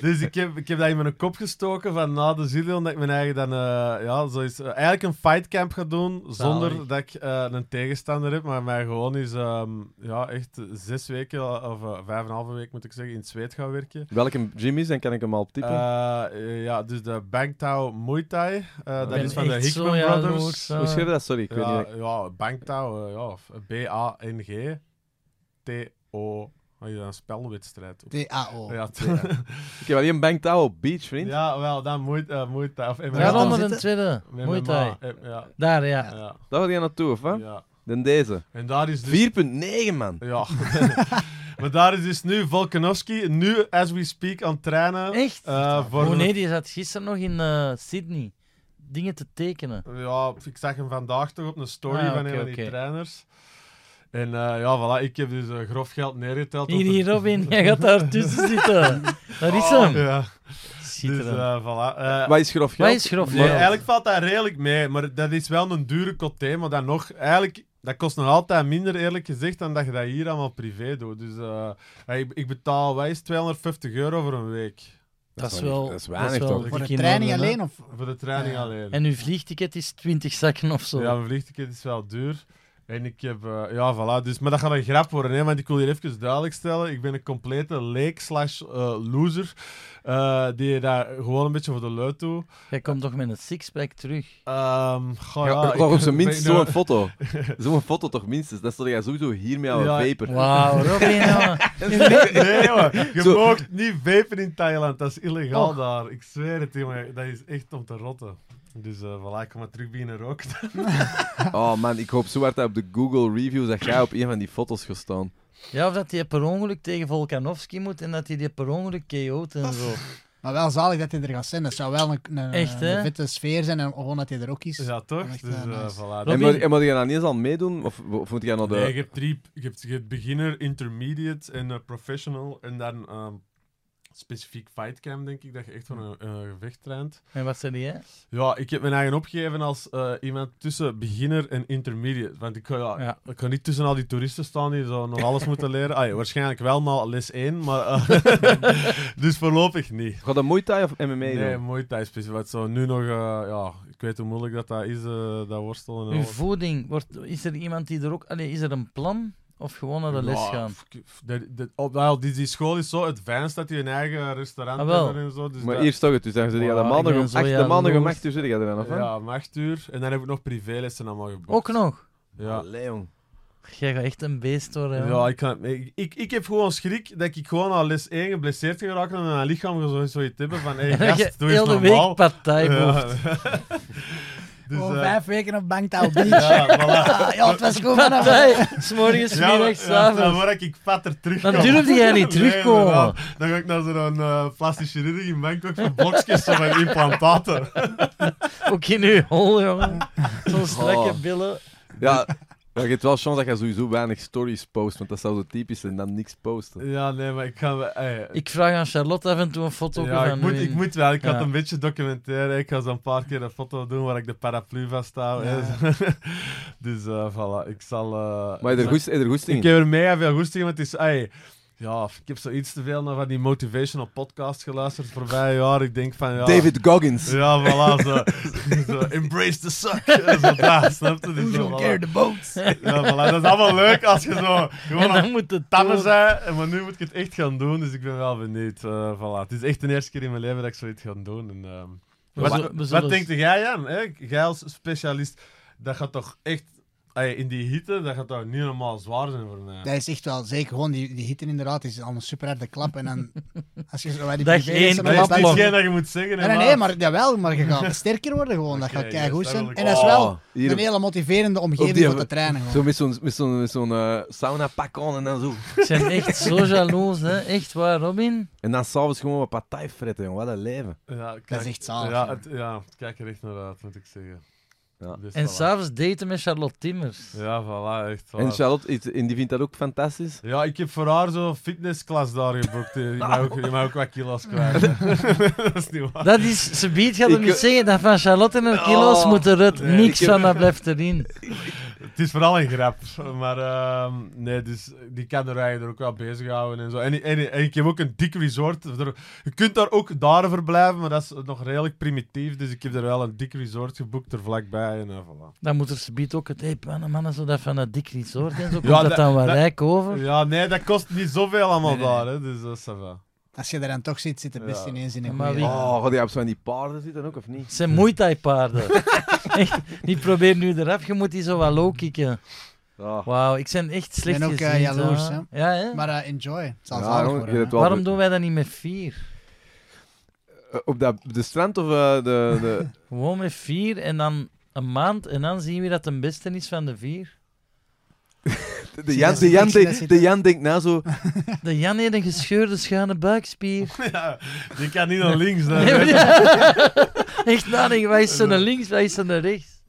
C: dus ik heb, ik heb dat in mijn kop gestoken van na de Zillion, dat ik mijn eigen dan eh, ja, zo is, eh, eigenlijk een fightcamp ga doen, zonder
D: Zalig.
C: dat ik eh, een tegenstander heb, maar mij gewoon eens ehm, ja, echt zes weken, of eh, vijf en een halve week moet ik zeggen, in het zweet gaan werken.
A: Welke gym is, dan kan ik hem al typen.
C: Eh, eh, ja, dus de Bangtao Muay Thai, eh, dat
A: ben
C: is van de
D: echt zo
C: Hickman
D: jaloers,
C: Brothers.
D: eh.
A: Hoe schrijf je dat? Sorry, ik weet niet.
C: Ja, ja Bangtao, eh, ja, of B-A-N-G, T-O, wat is dat, oh, een spelwedstrijd?
B: TAO.
C: Ja,
A: Ja. Ik heb alleen Bang Tao op Beach, Oh, vriend.
C: ja, wel, dan moet uh, moet of MMA.
D: Daar
B: dan
D: onder
B: zitten.
D: een tweede.
C: MMA,
D: Muay Thai.
C: eh, Ja,
D: Daar, ja.
C: ja,
A: Daar ga je naartoe, of wat?
C: ja.
A: Dan deze.
C: En daar is dus...
A: 4,9 man.
C: Ja. maar daar is dus nu Volkanovski, nu as we speak, aan het trainen.
D: Echt?
C: eh, voor
D: Oh nee, die zat gisteren nog in eh, Sydney. Dingen te tekenen.
C: Ja, ik zag hem vandaag toch op een story
D: Ah,
C: van
D: oké,
C: een van die
D: oké.
C: trainers. En eh, ja, voilà, ik heb dus eh, grof geld neergeteld. tot
D: Hier,
C: de- Oh,
D: hier, Robin, jij gaat daar tussen zitten. Daar is hem.
C: Ja. Dus
D: Schitterend.
C: eh voilà. Eh,
A: Wat is grof geld?
D: Wat is grof
C: nee,
D: geld?
C: eigenlijk valt dat redelijk mee, maar dat is wel een dure coté, maar dan nog, eigenlijk, dat kost nog altijd minder, eerlijk gezegd, dan dat je dat hier allemaal privé doet. Dus eh, ja, ik, ik betaal, wat is het, 250 euro voor een week?
D: Dat is
A: niet-
D: wel...
A: dat is weinig,
D: wel
A: toch?
B: Voor de
D: dik in
C: eh,
B: training
D: orde, hè.
B: alleen? Of,
C: Voor de training
B: Ja.
C: alleen.
D: En uw vliegticket is 20 zakken of zo.
C: Ja, mijn vliegticket is wel duur. En ik heb, eh, ja, voilà. Dus, maar dat gaat een grap worden, hè, want ik wil hier even duidelijk stellen. Ik ben een complete leek slash eh, loser, eh, die daar gewoon een beetje voor de leut doet.
D: Jij komt toch met een sixpack terug.
C: Ehm, goh,
A: Ja,
C: ja, nou-
A: ik op zijn
C: ben
A: minst
C: nu-
A: zo'n foto. Zo'n foto toch minstens. Dat stond jij sowieso hiermee aan
C: Ja.
A: een vaper.
D: Wauw, Robin, jongen.
C: Nee, jongen. Je
A: Zo.
C: moogt niet vapen in Thailand. Dat is illegaal
D: Och.
C: daar. Ik zweer het, jongen. Dat is echt om te rotten. Dus eh voilà, ik ga maar terug beginnen roken.
A: Oh man, ik hoop zo hard dat op de Google reviews dat jij op een van die foto's gaat staan.
D: Ja, of dat hij per ongeluk tegen Volkanovski moet en dat hij die per ongeluk KO't en zo.
B: maar wel zalig dat hij er gaat zijn. Dat zou wel een, een,
D: Echt, hè?
B: een vette sfeer zijn en gewoon dat hij er ook is.
C: Ja, toch?
B: Echt,
C: Dus
B: eh,
C: eh,
B: nice.
C: voilà.
A: En
D: Robin.
A: moet, en moet je dan niet eens al meedoen? Of, of moet jij naar de...
C: Nee, je hebt drie. Je hebt, je hebt beginner, intermediate en eh, professional. En dan ehm, specifiek fightcam, denk ik, dat je echt van een, een gevecht traint.
D: En wat zei jij?
C: Ja, ik heb mijn eigen opgegeven als eh, iemand tussen beginner en intermediate. Want ik kan, ja,
D: Ja.
C: ik kan niet tussen al die toeristen staan die zo nog alles moeten leren. Ah, ja, waarschijnlijk wel na les 1, maar... eh, dus voorlopig niet.
A: Gaat dat Muay Thai of MMA
C: Nee,
A: doen?
C: mooi tijdspecifiek. Wat zo nu nog... eh, ja, ik weet hoe moeilijk dat, dat is, eh, dat worstelen en
D: Uw
C: alles.
D: voeding, wordt, is er iemand die er ook... Allee, is er een plan? Of gewoon naar de les
C: Ja,
D: gaan?
C: f- f- de- de- op- wel, die, die school is zo advanced dat die een eigen restaurant
D: Ah, wel.
C: hebben en zo. Dus
A: Maar
C: dat-
A: hier toch het, dus dan zit je
C: Voilà,
A: de maandag
D: ik ben
A: om
D: zo
A: 8 de maandag om
D: jaloers.
A: 8 uur zit je er dan af, hè?
C: Ja, om acht uur. En dan heb ik nog privélessen allemaal geboekt.
D: Ook nog?
C: Ja.
A: Allee, jong.
D: Jij gaat echt een beest worden.
C: Ja, ik, kan, ik, ik, ik heb gewoon schrik dat ik gewoon aan les 1 geblesseerd ga raken en aan mijn lichaam zo, zoiets hebben van hé, hey, gast, doe
D: heel
C: eens
D: de week
C: normaal.
D: pad thai
C: Ja.
D: boeft.
C: dus,
D: Oh,
B: Gewoon
C: eh,
B: vijf weken op Bangtaal Beach.
C: ja, voilà.
B: Ah, ja, het was goed
D: Pad
B: vanaf.
D: thai, s'morgens,
C: Ja, maar-
D: middags,
C: ja, dan
D: avonds.
C: word ik vatter terug.
D: Dan durfde jij niet terugkomen.
C: dan ga ik naar zo'n eh plastic chirurg in Bangkok voor blokjes of een implantaten.
D: Ook in uw hol, jongen. Zo'n strakke
A: Oh.
D: billen.
A: Ja, maar je hebt wel chance dat je sowieso weinig stories post, want dat zou zo typisch zijn, dan niks posten.
C: Ja, nee, maar ik ga... wel- ey,
D: Ik vraag aan Charlotte af en toe een foto
C: ja,
D: van
C: ik moet,
D: u.
C: ik moet wel. Ik had
D: Ja.
C: een beetje documenteren. Ik ga zo een paar keer een foto doen waar ik de paraplu vast hou. hè. dus eh voilà, ik zal... eh,
A: Maar je hebt er goed- je hebt er goed
C: Ik eh,
A: in.
C: heb er mega veel goesting in, want het is... ey, ja, ik heb zoiets te veel naar van die motivational podcast geluisterd voorbij jaar. Ik denk van... Ja,
A: David Goggins.
C: Ja, voilà. Zo, zo, embrace the suck. Zo, daar, snap je? Dus
B: Who
C: zo,
B: don't
C: voilà.
B: care the boats?
A: Ah,
C: Ja, voilà. Dat is allemaal leuk als je zo
D: En
C: gewoon aan
D: dan moet het
C: tannen
D: door.
C: zijn. Maar nu moet ik het echt gaan doen, dus ik ben wel benieuwd. Eh, voilà. Het is echt de eerste keer in mijn leven dat ik zoiets ga doen. En, ehm,
D: We
C: wat
D: zullen- we
C: wat
D: zullen-
C: denkt jij, Jan? Hè? Jij als specialist, dat gaat toch echt... ey, in die hitte, dat gaat toch niet normaal zwaar zijn voor mij?
B: Dat is echt wel zeker. Gewoon die, die hitte inderdaad is al een super harde klap. En dan, als je zo bij die
D: Dag
B: privélessen
D: één,
B: op
C: Dat is
B: Bangtaal-
D: klap
C: niet
D: lang.
C: geen dat je moet zeggen.
B: Nee,
C: hè,
B: nee,
C: maat.
B: nee, maar jawel, maar je gaat sterker worden gewoon. dat
C: Oké,
B: gaat kei goed
C: yes, dat
B: zijn.
C: wil ik
B: En dat is wel
A: Oh, hier-
B: een hele motiverende
A: Op
B: omgeving
A: die-
B: om te trainen. Gewoon.
A: Zo met zo'n met zo'n met zo'n eh, sauna pak aan en dan zo.
D: Ik ben echt zo jaloers, hè. Echt waar, Robin.
A: En dan s'avonds gewoon wat partij fretten, jongen. Wat een leven.
C: Ja, kijk,
B: is echt zalig,
C: Ja,
B: ja.
C: het, ja, ik kijk er echt naar uit, moet ik zeggen.
A: Ja.
C: Dus
D: En
C: voilà.
D: s'avonds daten met Charlotte Timmers.
C: Ja, voilà, echt
A: En
C: waar.
A: Charlotte, is- en die vindt dat ook fantastisch.
C: Ja, ik heb voor haar zo'n fitnessklas daar geboekt. Je mag ook, je mag ook wat kilo's kwijt. dat is niet waar.
D: Dat is, ze biedt gaat hem
A: Ik-
D: niet zeggen dat van Charlotte en haar kilo's
A: Oh,
D: moeten eruit.
C: nee.
D: Niks
A: Ik-
D: van dat blijft erin.
C: Het is vooral een grap. Maar ehm, nee, dus die kan er eigenlijk ook wel bezighouden en zo. En, en, en ik heb ook een dik resort. Er- Je kunt daar ook daar verblijven, maar dat is nog redelijk primitief. Dus ik heb er wel een dik resort geboekt er vlakbij. En, eh, voilà.
D: Dan moet er ze biedt ook het... Hé, mannen, mannen, zo dat van dat dik resort en zo. Komt
C: Ja,
D: dat
C: dat-
D: dan wel
C: dat-
D: rijk over?
C: Ja, nee, dat kost niet zoveel allemaal
D: Nee, nee.
C: daar. Hè, dus dat is va.
B: Als je daar dan toch zit, zit het best
C: Ja.
B: ineens in een
D: Maar
B: goeie-
D: wie-
A: Oh, gaat die op zo'n die paarden zitten ook, of niet?
D: Het zijn Muay Thai paarden. Echt, die probeer nu eraf. Je moet die zo wat low kicken.
A: Ja.
D: Wauw, ik ben echt slecht
B: ben ook, eh,
D: gezind,
B: jaloers,
D: hè. Ja, hè?
B: Maar eh, enjoy. Het zal
A: Ja,
B: zalig
A: jongen,
B: worden,
A: je
B: hè.
A: hebt wel
D: Waarom
A: goed-
D: doen wij dat niet met vier?
A: Eh, Op dat, de strand of eh, de... de...
D: Gewoon met vier en dan een maand en dan zien we dat de beste is van de vier.
A: De,
B: Zie
A: Jan,
B: dat ze
A: de, Jan,
B: niks- dat
A: de,
B: ze-
A: de Jan denkt na zo...
D: De Jan heeft een gescheurde schuine buikspier.
C: Ja, die kan niet naar links. hè.
D: Nee, maar ja. Echt nadenken, wij is zo naar links, wij is zo naar rechts.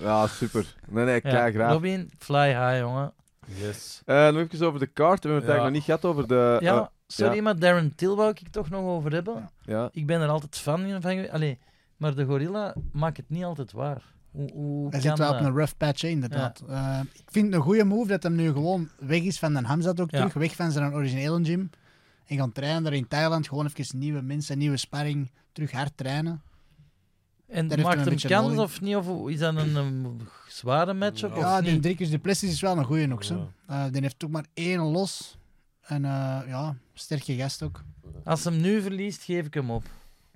A: Ja, super. Nee, nee,
D: Ja,
A: kijk, graag.
D: Robin, fly high, jongen.
C: Yes.
A: Eh, nog even over de kaart. We hebben het
C: Ja.
A: eigenlijk nog niet gehad over de... eh,
D: Ja, sorry,
A: ja.
D: maar Darren Till wou ik het toch nog over hebben.
A: ja.
D: Ik ben er altijd fan van geweest. Allee, maar de gorilla maakt het niet altijd waar. Hoe, hoe
B: Hij
D: kan
B: zit wel
D: dat?
B: op een rough patch, hè, inderdaad. Eh, ik vind het een goede move dat hem nu gewoon weg is van de Hamzat ook
D: Ja.
B: terug. Weg van zijn originele gym. En gaan trainen daar in Thailand. Gewoon even nieuwe mensen, nieuwe sparring. Terug hard trainen.
D: En
B: Daar heeft
D: maakt
B: hem een
D: hem
B: beetje
D: kans
B: nodig.
D: of niet? Of hoe- is dat een, een zware matchup?
B: Ja,
D: of
B: die
D: niet?
B: Dricus de Plessis is wel een goeie nog.
C: Ja.
B: zo. Eh, die heeft ook maar één los. En eh, ja, sterke gast ook.
D: Als hem nu verliest, geef ik hem op.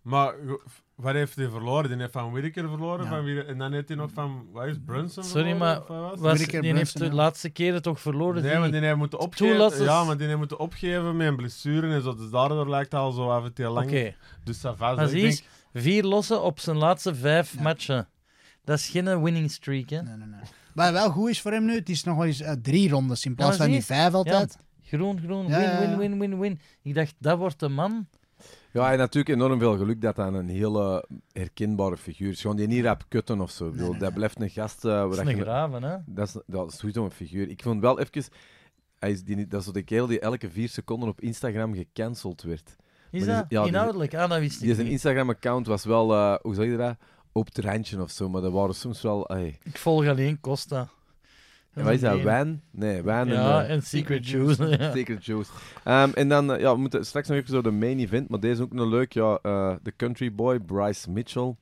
C: Maar go- f- wat heeft hij verloren? Die heeft van Whittaker verloren.
B: Ja.
C: Van wie, en dan heeft hij nog van waar is Brunson
D: Sorry,
C: verloren,
D: maar
C: of wat was het?
D: Was,
B: Drie keer
D: die heeft
B: Brunson,
D: de
B: ja.
D: laatste keren toch verloren.
C: Nee,
D: die-
C: maar die heeft moeten opgeven.
D: toelassen-
C: Ja, maar die heeft moeten opgeven met een blessure en zo. Dus daardoor lijkt het al zo even te lang.
D: Oké,
C: Dus dat was
D: maar
C: het.
D: zie
C: Ik
D: eens,
C: denk,
D: vier lossen op zijn laatste vijf
B: Ja.
D: matchen. Dat is geen winning streak, hè?
B: Nee, nee, nee. Wat wel goed is voor hem nu, het is nog wel eens eh, drie rondes in plaats
D: maar
B: van die
D: zie
B: vijf altijd.
D: Groen, groen,
B: Ja, ja, ja.
D: win, win, win, win, win. Ik dacht, dat wordt de man.
A: ja, en natuurlijk enorm veel geluk dat hij een hele herkenbare figuur is. Gewoon die niet rap kutten of zo. Ik bedoel,
B: nee,
A: Dat
B: nee.
A: blijft een gast... eh, waar
D: Dat is
A: je-
D: een graven, hè?
A: Dat is, dat is sowieso een figuur. Ik vond wel even... Hij is die, dat is zo de kerel die elke vier seconden op Instagram gecanceld werd.
D: Is
A: die
D: dat?
A: is- ja, die-
D: Inhoudelijk? Ah, dat wist
A: Die
D: ik
A: zijn
D: niet.
A: Instagram-account was wel, eh, hoe zeg je dat? Op het randje of zo, maar dat waren soms wel. Hey.
D: Ik volg alleen Costa. Dat
A: En wat is dat?
D: een-
A: Wan? Nee, Wan
D: Ja,
A: en, eh,
D: en Secret Juice. ja.
A: Secret Juice. Ehm, en dan, eh, ja, we moeten straks nog even zo de main event, maar deze is ook nog leuk. Ja, eh, de country boy Bryce Mitchell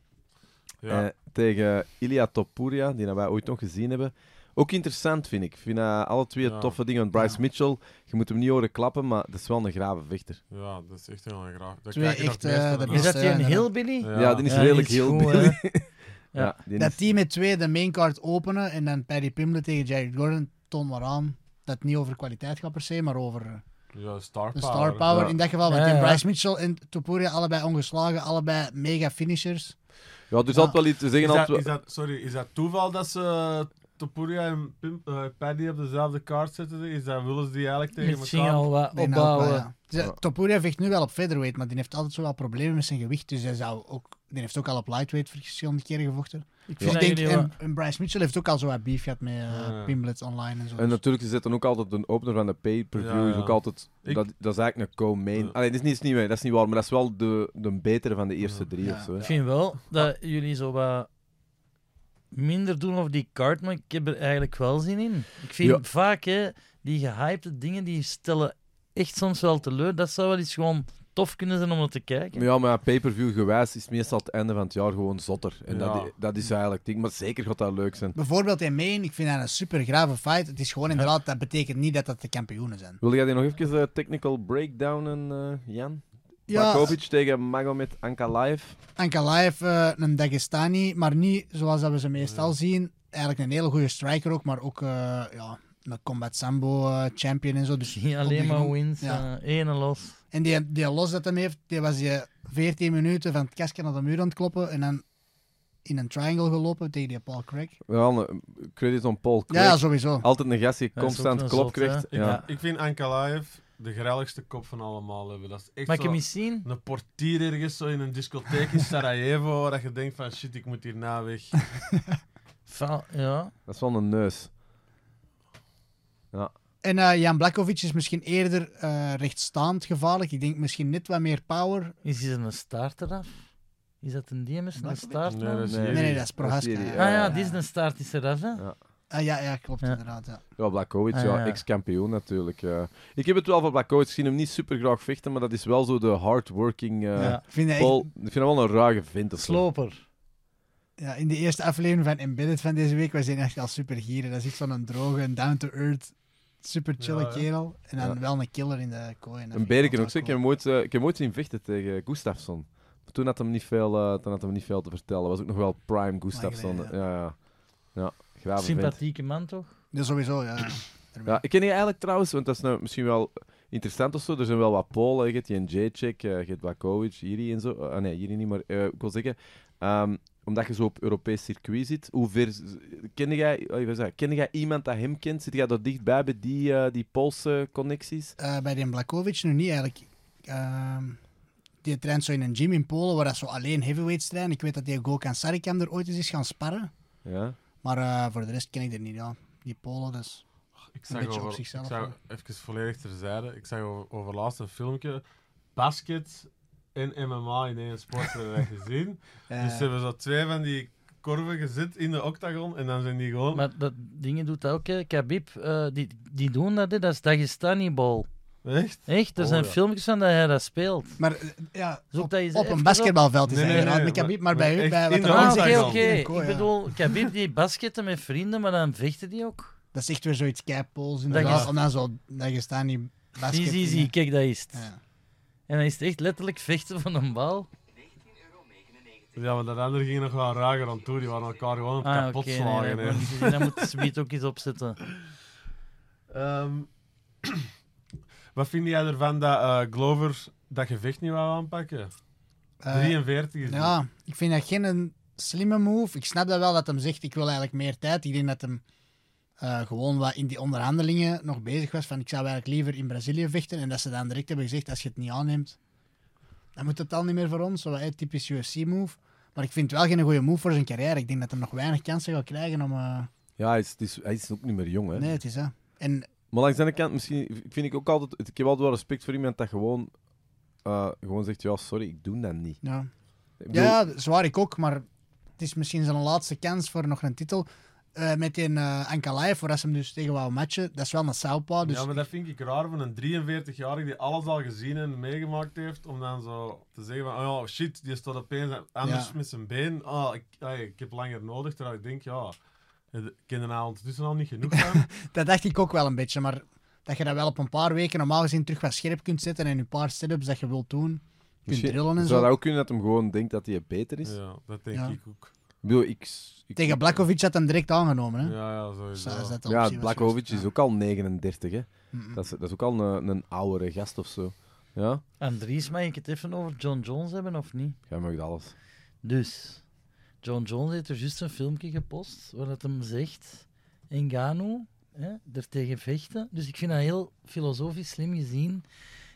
C: Ja.
A: eh, tegen Ilia Topuria, die wij ooit nog gezien hebben. Ook interessant, vind ik. Ik vind eh, alle twee
C: Ja.
A: toffe dingen. Want Bryce
B: Ja.
A: Mitchell, je moet hem niet horen klappen, maar dat is wel een grave vechter.
C: ja, dat is echt heel erg graag. Dat
B: Twee
C: kijk je nog
B: echt,
C: het meeste
B: eh,
C: van
B: de
C: aan.
D: Is dat
B: Ja,
D: die een
B: ja.
D: hillbilly?
A: Ja, die is
D: Ja, die
A: redelijk
D: is
A: heel
D: goed,
A: billig.
D: Ja.
A: die
B: Dat
A: is-
B: team met twee de maincard openen en dan Paddy Pimble tegen Jared Gordon, toon maar aan dat het niet over kwaliteit gaat per se, maar over eh,
C: Ja, star
B: de
C: power.
B: star power
A: Ja.
B: in dat geval. Want
D: Ja,
B: die
D: ja.
B: Bryce Mitchell en Topuria, allebei ongeslagen, allebei mega finishers.
A: ja, dus altijd wel iets te
C: Is
A: zeggen.
C: dat,
A: altijd
C: is dat, sorry, is dat toeval dat ze Topuria en Pim, eh, Paddy op dezelfde kaart zetten? Is dat, willen ze die eigenlijk tegen
D: Misschien
C: elkaar?
D: al wat
B: Ik denk ook wel,
D: opbouwen.
B: ja. Dus, eh,
A: Ja.
B: Topuria vecht nu wel op featherweight, maar die heeft altijd zo wel problemen met zijn gewicht. Dus hij zou ook, die heeft ook al op lightweight verschillende keren gevochten.
D: Ik
B: Dus
D: vind dat
B: ik denk,
D: jullie
B: en,
D: wel-
B: en Bryce Mitchell heeft ook al zo wat beef gehad met eh
C: Ja.
B: Pimblet online en zo. Dus-
A: En natuurlijk, ze zetten ook altijd een opener van de pay-per-view.
C: Ja, ja.
A: Is ook altijd,
C: Ik-
A: dat, dat is eigenlijk een co-main.
C: Ja.
A: Allee, dat is niet, is niet, waar, dat is niet waar, maar dat is wel de, de betere van de eerste
C: Ja.
A: drie
B: Ja.
A: of zo. hè.
D: Ik vind wel dat jullie zo wat minder doen over die kaart, maar ik heb er eigenlijk wel zin in. Ik vind
A: Ja.
D: vaak, hè, die gehypte dingen, die stellen echt soms wel teleur. Dat zou wel eens gewoon tof kunnen zijn om naar te kijken.
A: Maar Ja, maar ja, pay-per-view gewijs is het meestal het einde van het jaar gewoon zotter. En
C: Ja.
A: dat, dat is eigenlijk het ding. Maar zeker gaat dat leuk zijn.
B: Bijvoorbeeld in Maine, ik vind dat een super grave fight. Het is gewoon inderdaad, dat betekent niet dat dat de kampioenen zijn.
A: Wil jij die nog even eh, technical breakdownen, eh Jan?
B: Ja.
A: Markovic tegen Magomed Ankalaev.
B: Ankalaev, eh een Dagestani, maar niet zoals dat we ze meestal zien. Eigenlijk een hele goede striker ook, maar ook eh, ja, een combat sambo eh, champion en zo. Dus
D: Niet
B: op
D: alleen
B: de
D: maar
B: grond-
D: wins,
B: Ja.
D: ja. ene los.
B: En die, die los dat hem heeft, die was je 14 minuten van het kastje naar de muur aan het kloppen en dan in een triangle gelopen tegen die Paul Craig.
A: Wel, eh, credit aan Paul
B: Ja,
A: Craig.
B: ja, sowieso.
A: Altijd een gast die
D: Dat is
A: constant
D: ook wel
A: klop
D: zot,
A: krijgt.
D: hè?
A: Ja.
D: Ja.
C: Ik vind Ankalaev de grelligste kop van allemaal hebben. Dat is echt
D: Mag ik
C: zo-
D: hem eens zien?
C: een portier ergens zo in een discotheek in Sarajevo, waar dat je denkt van shit, ik moet hier na weg.
D: Va- ja.
A: Dat is wel een neus.
B: En eh, Jan Blakovic is misschien eerder eh, rechtstaand gevaarlijk. Ik denk misschien net wat meer power.
D: Is dit een staart eraf? Is dat een DMS, een
B: Black-
D: staart?
C: Nee, dat is
A: Nee.
B: Nee, nee, dat is Prohaska.
A: Dat is die,
D: Ah ja,
A: Ja.
D: dit is een staart is eraf, hè?
B: Ah, ja, ja, klopt
D: Ja.
B: inderdaad. Ja.
A: Ja, Blakowicz,
D: Ah,
A: ja,
D: ja.
A: ex-kampioen natuurlijk. eh. ik heb het wel van Blakowicz gezien, hem niet super graag vechten, maar dat is wel zo de hardworking eh
D: Ja.
B: Ik vind dat echt-
A: Paul. Ik vind hem wel een ruige vent of zo.
D: Sloper.
B: ja, in de eerste aflevering van Embedded van deze week, wij zijn echt al super gieren. Dat is echt zo'n droge, en down-to-earth, super chille
C: Ja, hè?
B: kerel. En dan
A: Ja.
B: wel een killer in de kooi.
A: Een
B: En dat vind ik
A: berken ook.
B: altijd
A: Zeg. Ik, heb
B: cool.
A: hem ooit, eh, ik heb hem ooit zien vechten tegen Gustafsson. Maar Toen had, hem niet veel, eh, toen had hem niet veel te vertellen. Was ook nog wel prime Gustafsson.
B: Lang
A: Ja, ja. ja grave vent.
D: Sympathieke man, toch?
B: Ja, sowieso, ja. Ermee.
A: Ja, ik ken je eigenlijk trouwens, want dat is nou misschien wel interessant of zo. Er zijn wel wat Polen, je hebt die Jacek, eh, je hebt Blakowicz, Jiri en zo. Eh, ah, nee, Jiri niet, maar eh, ik wil zeggen, ehm, omdat je zo op Europees circuit zit, hoe ver... Ken jij, oh, ik wou zeggen, ken jij iemand dat hem kent? Zit jij daar dichtbij bij die, eh, die Poolse connecties?
B: Eh, bij den Blakovic nu niet eigenlijk. Ehm, die traint zo in een gym in Polen waar dat zo alleen heavyweights trainen. Ik weet dat die Gokan Sarikam er ooit eens is gaan sparren.
A: Ja.
B: Maar eh, voor de rest ken ik er niet aan. Die Polen, dus.
C: Ik
B: Een beetje
C: zag
B: op
C: over, ik
B: zichzelf,
C: zag, even volledig terzijde, ik zag over, over laatst een filmpje, basket en MMA in één sport hebben wij gezien.
B: eh,
C: Dus ze hebben zo twee van die korven gezet in de octagon en dan zijn die gewoon...
D: Maar dat dingen doet dat ook, hè. Khabib, eh, die, die doen dat, hè. dat is Dagestani-bal.
C: Echt?
D: Echt, er
C: Oh,
D: zijn
C: ja.
D: filmpjes van dat hij dat speelt.
B: maar eh, ja,
D: Zoek
B: op,
D: Dus dat eens
B: op
D: even
B: een
D: op.
B: basketbalveld is
C: Nee,
B: hij
C: nee,
B: inderdaad.
C: nee,
B: met Khabib, maar,
C: maar
B: bij,
C: echt
B: bij wat
C: in de
B: er
D: Ah,
B: langs
D: oké,
C: octagon.
B: is.
D: oké.
C: dan.
B: Oké, ja.
D: Ik bedoel, Khabib die basketten met vrienden, maar dan vechten die ook.
B: Dat is echt weer zoiets keipols inderdaad.
D: is-
B: En dan zo, daar je staan die basket.
D: Zie, zie,
B: dingen.
D: zie, kijk, dat is het.
B: Ja.
D: En dan is het echt letterlijk vechten van een bal.
C: Ja, maar dat andere ging nog wel rager aan toe, die waren elkaar gewoon
D: Ah,
C: kapot
D: oké. nee,
C: slagen.
D: dat
C: hè.
D: moet je- dat moet Smit ook eens opzetten.
C: Ehm, wat vind jij ervan dat eh, Glover dat gevecht niet wou aanpakken?
B: Eh,
C: 43 is die.
B: Ja, ik vind dat geen een slimme move. Ik snap dat wel dat hem zegt, ik wil eigenlijk meer tijd. Ik denk dat hem eh, gewoon wat in die onderhandelingen nog bezig was van ik zou eigenlijk liever in Brazilië vechten. En dat ze dan direct hebben gezegd, als je het niet aanneemt, dan moet het al niet meer voor ons. Zo, wat, eh, typisch UFC-move. Maar ik vind het wel geen goede move voor zijn carrière. Ik denk dat hij nog weinig kansen gaat krijgen om... eh,
A: Ja, hij is, het is, hij is ook niet meer jong, hè.
B: Nee, het is hè. En
A: Maar langs de andere kant, misschien vind ik ook altijd... Ik heb altijd wel respect voor iemand dat gewoon eh, gewoon zegt, ja, sorry, ik doe dat niet.
B: Ja.
A: Ik bedoel,
B: ja, zwaar ik ook, maar het is misschien zijn laatste kans voor nog een titel. Eh, met die eh Ankalaev, voordat ze hem dus tegen wou matchen, dat is wel een Southpaw, dus
C: Ja, maar dat vind ik raar van een 43-jarige die alles al gezien en meegemaakt heeft, om dan zo te zeggen van, oh ja, shit, die staat opeens anders
B: Ja.
C: met zijn been. Oh, ik, ay, ik heb langer nodig, terwijl ik denk, ja, ik ken er nou ondertussen al niet genoeg van.
B: dat dacht ik ook wel een beetje. Maar dat je dat wel op een paar weken normaal gezien terug wat scherp kunt zetten en een paar setups dat je wilt doen, kunt
A: misschien
B: drillen en
A: zou
B: zo.
A: dat ook kunnen dat hem gewoon denkt dat hij beter is?
C: ja, dat denk
B: Ja.
C: ik ook.
A: Ik bedoel, ik... ik
B: Tegen Blakovic had hem direct aangenomen, hè?
C: Ja, ja, sowieso.
B: Zo is dat de
A: Ja,
B: optie was
A: Blakovic
B: geweest.
A: is ook al 39, hè.
B: Ja. Mm-mm.
A: Dat is, dat is ook al een, een oudere gast of zo. Ja?
D: Andries, mag ik het even over John Jones hebben of niet?
A: Jij mag alles.
D: Dus, John Jones heeft er juist een filmpje gepost waar het hem zegt, Engano, hè, er tegen vechten. Dus ik vind dat heel filosofisch slim gezien.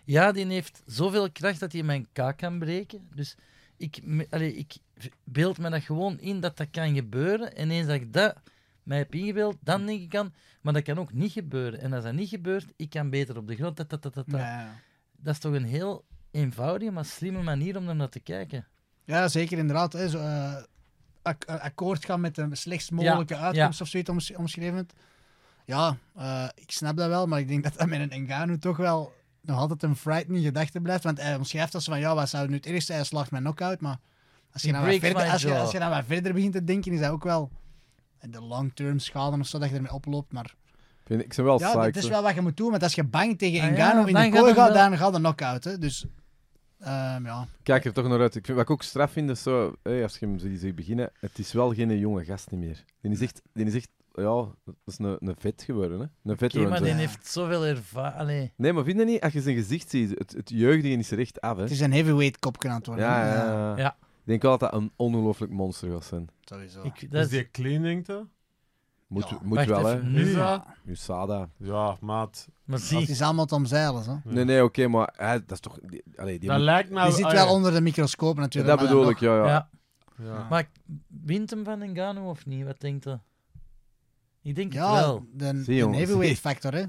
D: Ja, die heeft zoveel kracht dat hij mijn kaak kan breken. Dus ik, me- allee, ik v- beeld me dat gewoon in dat dat kan gebeuren. En eens dat ik dat mij heb ingebeeld, dan denk ik aan, maar dat kan ook niet gebeuren. En als dat niet gebeurt, ik kan beter op de grond. Dat, dat, dat, dat, dat.
B: Ja, ja.
D: dat is toch een heel eenvoudige, maar slimme manier om daar naar te kijken.
B: Ja, zeker inderdaad. Hè, zo, eh, ak- eh, akkoord gaan met de slechtst mogelijke
D: Ja,
B: uitkomst of zoiets oms- omschreven. het. Ja, eh, ik snap dat wel, maar ik denk dat dat met een Engano toch wel nog altijd een frightening gedachte blijft. Want hij omschrijft dat ze van, ja, wat zou nu het ergste zijn? Hij slaagt mijn knock-out, maar als je,
D: He
B: dan wat
D: breaks
B: verder,
D: my
B: als, je,
D: jaw.
B: als je dan wat verder begint te denken, is dat ook wel de long-term schade of zo dat je ermee oploopt. Maar
A: Ik Vind, ik ben wel
B: ja,
A: psyched,
B: dat is
A: hè.
B: wel wat je moet doen, want als je bang tegen
D: Ah ja,
B: Engano
D: dan
B: in de
D: gaat
B: kooi
D: hem
B: gaat,
D: wel-
B: dan gaat de knock-out. Hè. Dus, ehm, ja.
A: Kijk er toch naar uit. Ik vind, wat ik ook straf vind, is zo, hé, als je hem ziet ziet beginnen, het is wel geen jonge gast niet meer. Die is echt, die is echt ja, dat is een, een vet geworden. Hè? Een vet
D: Oké, maar die
B: Ja.
D: heeft zoveel ervaring.
A: Nee, maar vind je niet? Als je zijn gezicht ziet, het, het jeugdige is er echt af. Hè?
B: Het is een heavyweight kopje aan het worden.
A: Ja,
B: hè.
A: ja, ja.
D: Ja.
A: Ik denk wel dat dat een ongelooflijk monster gaat zijn.
B: Sowieso.
D: Ik,
C: Dus
D: dat is,
C: die clean, denkt hij?
A: Moet,
B: Ja.
A: moet
D: Wacht
A: wel,
D: even,
A: hè?
D: nu.
C: Is dat?
A: USADA.
C: Ja, maat.
D: maar
B: Het
D: zie,
B: is allemaal te omzeilen. Hè?
C: Ja.
A: Nee, nee, oké, maar hij, dat is toch. Die, allee, die
C: dat
A: moet-
C: lijkt nou...
B: Die zit
C: ah,
B: wel
C: ja.
B: onder de microscoop
A: Ja,
B: natuurlijk.
A: dat
B: maar dan
A: bedoel
B: nog.
A: ik, ja, ja.
D: ja.
C: Ja.
D: Maar wint hem van Ngannou of niet? Wat denkt hij? Ik denk het
B: Ja,
D: wel.
B: de, de
A: Zie, jongens.
B: heavyweight factor. Hè?
A: Ja.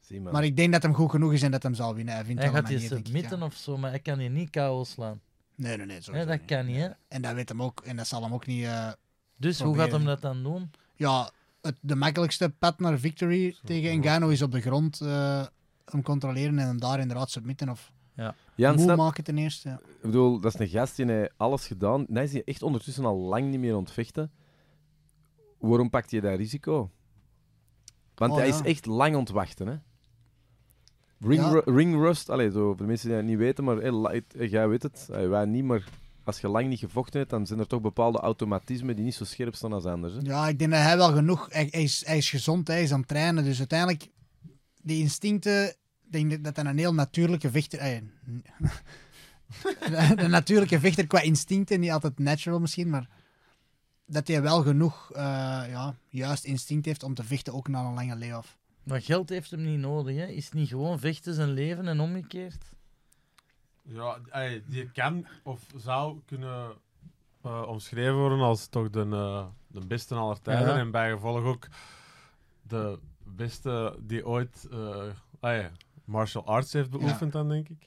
A: Zie, man.
B: Maar ik denk dat hem goed genoeg is en dat hem zal winnen. Hij vindt
D: Hij
B: wel een
D: gaat dus die
B: manier, denk ik,
D: submitten
B: ja.
D: of zo, maar hij kan hier niet KO slaan.
B: Nee, nee, nee.
D: Hè,
B: sowieso
D: dat
B: niet.
D: kan niet, hè?
B: En dat weet hem ook. En dat zal hem ook niet... eh,
D: Dus hoe
B: Proberen.
D: gaat hem dat dan doen?
B: ja, het, de makkelijkste pad naar victory tegen Engano is op de grond eh, hem controleren en hem daar inderdaad submitten. Of
A: Jan,
B: moe
A: snap,
B: maken ten eerste. ja.
A: Ik bedoel, dat is een gast die heeft alles gedaan. Hij is hier echt ondertussen al lang niet meer aan het vechten. Waarom pakt je dat risico? Want
B: Oh,
A: hij
B: ja.
A: is echt lang aan het wachten, hè? Ring,
B: Ja.
A: ru- ring rust, allee, zo, voor de mensen die dat niet weten, maar hey, la- het- jij weet het, hey, wij niet, maar als je lang niet gevochten hebt, dan zijn er toch bepaalde automatismen die niet zo scherp staan als anders. Hè?
B: Ja, ik denk dat hij wel genoeg... Hij, hij is, hij is gezond, hij is aan het trainen. Dus uiteindelijk, die instincten... Ik denk dat- dat dat een heel natuurlijke vechter... eh, n- een natuurlijke vechter qua instincten, niet altijd natural misschien, maar... Dat hij wel genoeg eh, ja, juist instinct heeft om te vechten, ook na een lange layoff.
D: Maar geld heeft hem niet nodig, hè? Is het niet gewoon vechten zijn leven en omgekeerd?
C: Ja, ey, die kan of zou kunnen eh, omschreven worden als toch de, eh, de beste aller tijden.
D: Ja.
C: En bijgevolg ook de beste die ooit eh, ey, martial arts heeft beoefend, dan denk ik.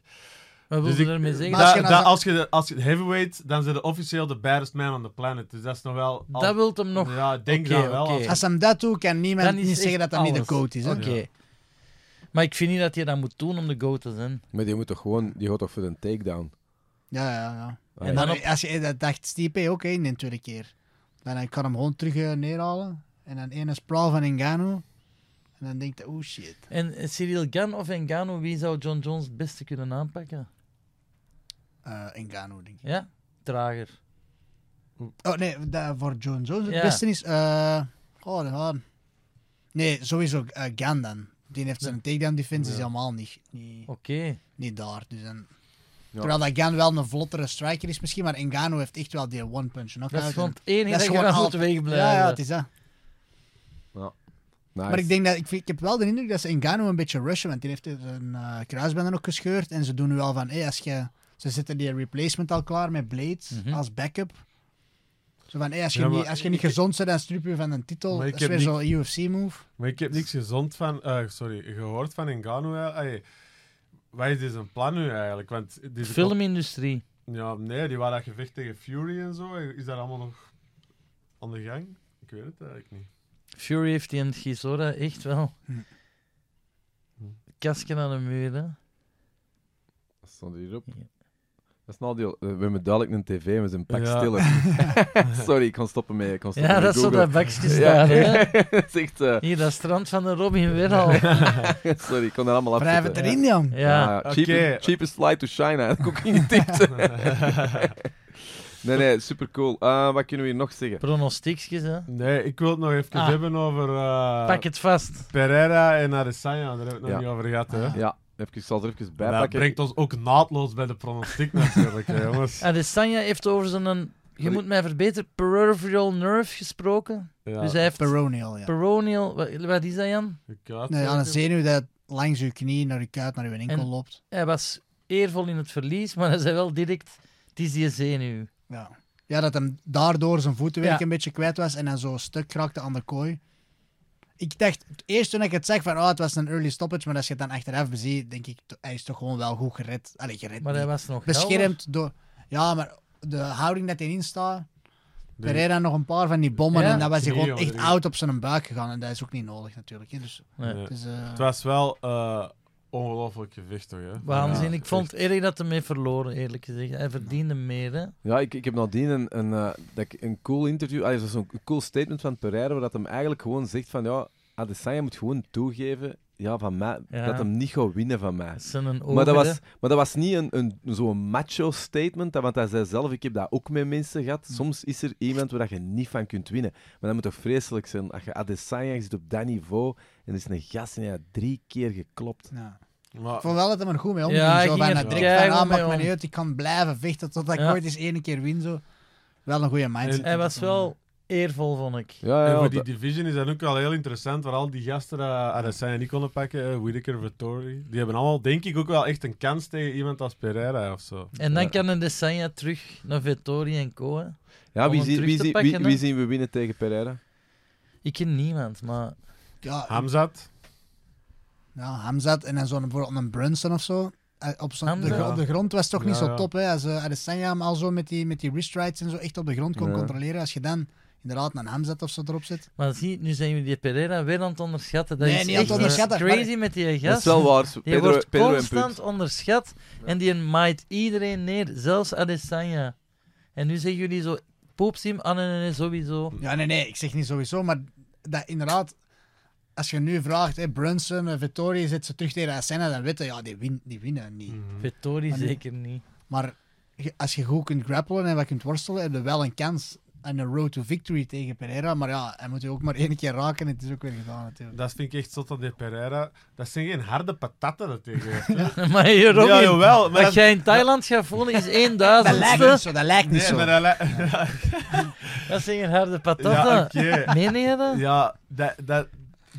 D: Wat wil
C: Dus
D: je
C: ik-
D: daarmee zeggen?
B: Maar als
C: Da-
B: je
C: da-
B: nou zo-
C: als, je de, als je de heavyweight, dan zit je officieel de baddest man on the planet. Dus dat is nog wel... al-
D: dat wil hem nog.
C: Ja, ik denk
D: Oké,
C: dat wel.
D: oké.
C: als-
B: Als hem dat doet, kan niemand
D: Dan is
B: niet zeggen dat
D: echt
B: dat niet de
D: alles.
B: coach is. Hè?
D: Oké. Maar ik vind niet dat je dat moet doen om de go te zijn.
A: Maar die moet toch gewoon, die gaat toch voor een takedown.
B: Ja, ja, ja.
A: Allee.
D: dan
B: Maar
D: op-
B: als je dat dacht, Stipe ook één in de tweede keer. Dan ik kan hem gewoon terug eh, neerhalen. En dan één sprawl van Engano. En dan denkt hij, oh shit.
D: En eh, Cyril Gan of Engano, wie zou John Jones het beste kunnen aanpakken?
B: eh Engano, denk ik.
D: Ja? Trager.
B: Oh nee, dat voor John Jones het
D: Ja.
B: beste is. eh oh, ja. Nee, sowieso eh Gan dan. Die heeft zijn takedown defense is
C: Ja.
B: helemaal niet, niet,
D: Oké.
B: niet daar. Dus dan,
A: Ja.
B: Terwijl dat Gan wel een vlottere striker is misschien, maar Engano heeft echt wel die one-punch knockout.
D: Dat is gewoon
B: En-
D: het enige
B: dat
D: dat,
B: is
D: je
B: gewoon
D: van
B: al-
D: moet wegblijven.
B: Ja, ja, het is dat.
A: Nice.
B: Maar ik denk dat ik, vind- ik heb wel de indruk dat ze Engano een beetje rushen, want die heeft een eh kruisband nog gescheurd. En ze doen nu al van, hey, als je, ze zetten die replacement al klaar met Blades
D: Mhm.
B: als backup. Zo van, hey, als, je
C: Ja, maar
B: niet, als je niet
C: ik-
B: gezond bent, dan struip je van een titel.
C: Maar
B: Dat
C: ik
B: is
C: heb
B: weer zo'n UFC-move.
C: Maar ik heb niks gezond van, eh, sorry, gehoord van Ngannou. hè. Ey, Wat is dit een plan nu eigenlijk? Want die
D: Filmindustrie.
C: Ja, nee, die waren dat gevecht tegen Fury en zo. Is dat allemaal nog aan de gang? Ik weet het eigenlijk niet.
D: Fury heeft die en Gisora echt wel.
B: Hm.
D: Kasken aan de muur. hè.
A: Dat stond hierop.
D: Ja.
A: Dat is nou die, we hebben duidelijk een tv, we zijn een pak
C: Ja.
A: stiller. Sorry, ik kon stoppen met, ik kon stoppen
D: Ja,
A: met
D: dat is zo
A: Google.
D: dat bakje staan. hè.
A: dat is echt... eh,
D: Hier, dat strand van de Robin weer al.
A: sorry, ik kon er allemaal af.
B: Private
D: eh, Ja.
B: erin, Jan.
D: Ja,
C: Oké.
A: cheapest, cheapest flight to China. Dat heb ik ook ingetipt. nee, nee, super cool. wat kunnen we hier nog zeggen?
D: pronostiekjes, hè.
C: nee, ik wil het nog even
D: Ah.
C: hebben over eh,
D: Pak het vast.
C: Pereira en Adesanya. Daar hebben we het nog
A: Ja.
C: niet over gehad. Hè?
A: Ja, even, ik zal er even bij
C: Dat
A: pakken.
C: brengt ons ook naadloos bij de pronostiek natuurlijk, hè, jongens.
D: Adesanya heeft over zijn, een, je
A: Sorry.
D: moet mij verbeteren, peripheral nerve gesproken.
C: Ja,
D: Dus hij heeft
B: Peronial, ja.
D: peronial, wa- wat, is dat Jan?
C: ik had
B: Nee, aan een
C: het
B: zenuw dat langs je knie naar je kuit, naar je enkel
D: En-
B: loopt.
D: Hij was eervol in het verlies, maar hij zei wel direct, het is die zenuw.
B: Ja. ja, dat hem daardoor zijn voetenwerk
D: Ja.
B: een beetje kwijt was en dan zo stuk raakte aan de kooi. Ik dacht, het eerst toen ik het zeg van, oh, het was een early stoppage, maar als je het dan achteraf beziet, denk ik, t- hij is toch gewoon wel goed gered. Allee, gered
D: Maar
B: niet.
D: hij was nog helder.
B: Beschermd door... Ja, maar de houding dat hij instaat,
C: Nee.
B: Pereira nog een paar van die bommen
D: Ja.
B: en dan was hij
C: Drie
B: gewoon
C: of
B: echt
C: drie.
B: oud op zijn buik gegaan en dat is ook niet nodig natuurlijk. hè. Dus,
D: Nee.
C: Nee.
B: het is, eh,
C: Het was wel eh ongelooflijk gewicht, toch? Hè?
D: Waanzin.
C: Ja,
D: ik vond het erg dat hij mee verloren, eerlijk gezegd. Hij verdiende meer, hè.
A: Ja, ik, ik heb nadien een, een, eh, dat ik een cool interview, allee, zo- zo'n cool statement van Pereira, waar dat hem eigenlijk gewoon zegt van ja, Adesanya moet gewoon toegeven ja, van mij,
D: Ja.
A: dat hem niet gaat winnen van mij.
D: Dat zijn een
A: Maar dat,
D: ogen,
A: was, maar dat was niet een, een, zo'n macho statement, dat- want hij zei zelf, ik heb dat ook met mensen gehad.
D: Hm.
A: Soms is er iemand waar dat je niet van kunt winnen. Maar dat moet toch vreselijk zijn, als je Adesanya je zit op dat niveau en er is een gast en hij had drie keer geklopt.
B: ja.
C: Maar,
B: Ik vond wel dat hij er goed mee omging.
D: Ja, hij
B: zo
D: ging
B: bijna
D: er
B: direct van,
D: keigoed
B: ah, maakt
D: mee
B: me
D: om.
B: niet uit. Ik kan blijven vechten totdat ik
D: Ja.
B: ooit eens één keer win. Zo. Wel een goede mindset.
C: En-
D: Hij was wel eervol, vond ik.
A: Ja,
C: en
A: ja,
C: voor
A: dat-
C: die division is dat ook wel heel interessant, waar al die gasten uh, Adesanya niet konden pakken, eh, Whittaker, Vittori, die hebben allemaal denk ik ook wel echt een kans tegen iemand als Pereira of zo.
D: En dan
A: Ja.
D: kan Adesanya terug naar Vettori en Co. hè.
A: ja,
D: om
A: wie,
D: hem
A: zie-
D: terug
A: wie,
D: te
A: zie-
D: pakken,
A: wie,
D: hè?
A: wie zien we winnen tegen Pereira?
D: Ik ken niemand, maar...
B: Ja,
C: Hamzat,
B: ja, Hamzat en dan zo'n bijvoorbeeld een Brunson of zo. Eh, Op, zo'n- de,
D: Hamzat.
B: gro- op de grond was het toch niet
C: Ja,
B: zo
C: ja.
B: top. Hè? Als eh, Adesanya hem al zo met die, met die wrist rights en zo echt op de grond kon
A: Ja.
B: controleren. Als je dan inderdaad een Hamzat of zo erop zit.
D: Maar zie, nu zijn we die Pereira weer aan het onderschatten. Dat
B: Nee,
D: is
B: niet aan het
D: echt
B: onderschatten,
D: crazy
B: maar-
D: met die
A: Dat is
D: gast.
A: wel waar,
D: Die
A: Pedro,
D: wordt
A: Pedro en
D: constant
A: punt.
D: onderschat. En die maait iedereen neer, zelfs Adesanya. En nu zeggen jullie zo, poepsim, ah nee, nee, nee, sowieso.
B: Ja, nee, nee. Ik zeg niet sowieso. Maar dat inderdaad... Als je nu vraagt, hè, Brunson, eh, Vittori, zit ze terug tegen Adesanya, dan weten ja, die, win, die winnen
C: Hmm.
B: niet.
D: Vettori
B: Maar nu-
D: zeker niet.
B: Maar je- als je goed kunt grappelen en wat kunt worstelen, heb je wel een kans. En een road to victory tegen Pereira. Maar ja, hij moet je ook maar één keer raken en het is ook weer gedaan natuurlijk.
C: dat vind ik echt zot aan die Pereira. Dat zijn geen harde patatten dat tegen heeft, hè.
D: maar hier ook
C: Ja,
D: niet.
C: jawel, maar
D: Wat
C: dat-
D: jij in Thailand gaat voelen is één
B: Dat lijkt niet
D: duizendste.
B: zo, dat lijkt niet
C: Nee,
B: zo.
C: maar eh, dat lij-
D: Dat zijn geen harde
C: Ja,
D: patatten.
C: oké.
D: Meen je dat?
C: Ja, dat, dat,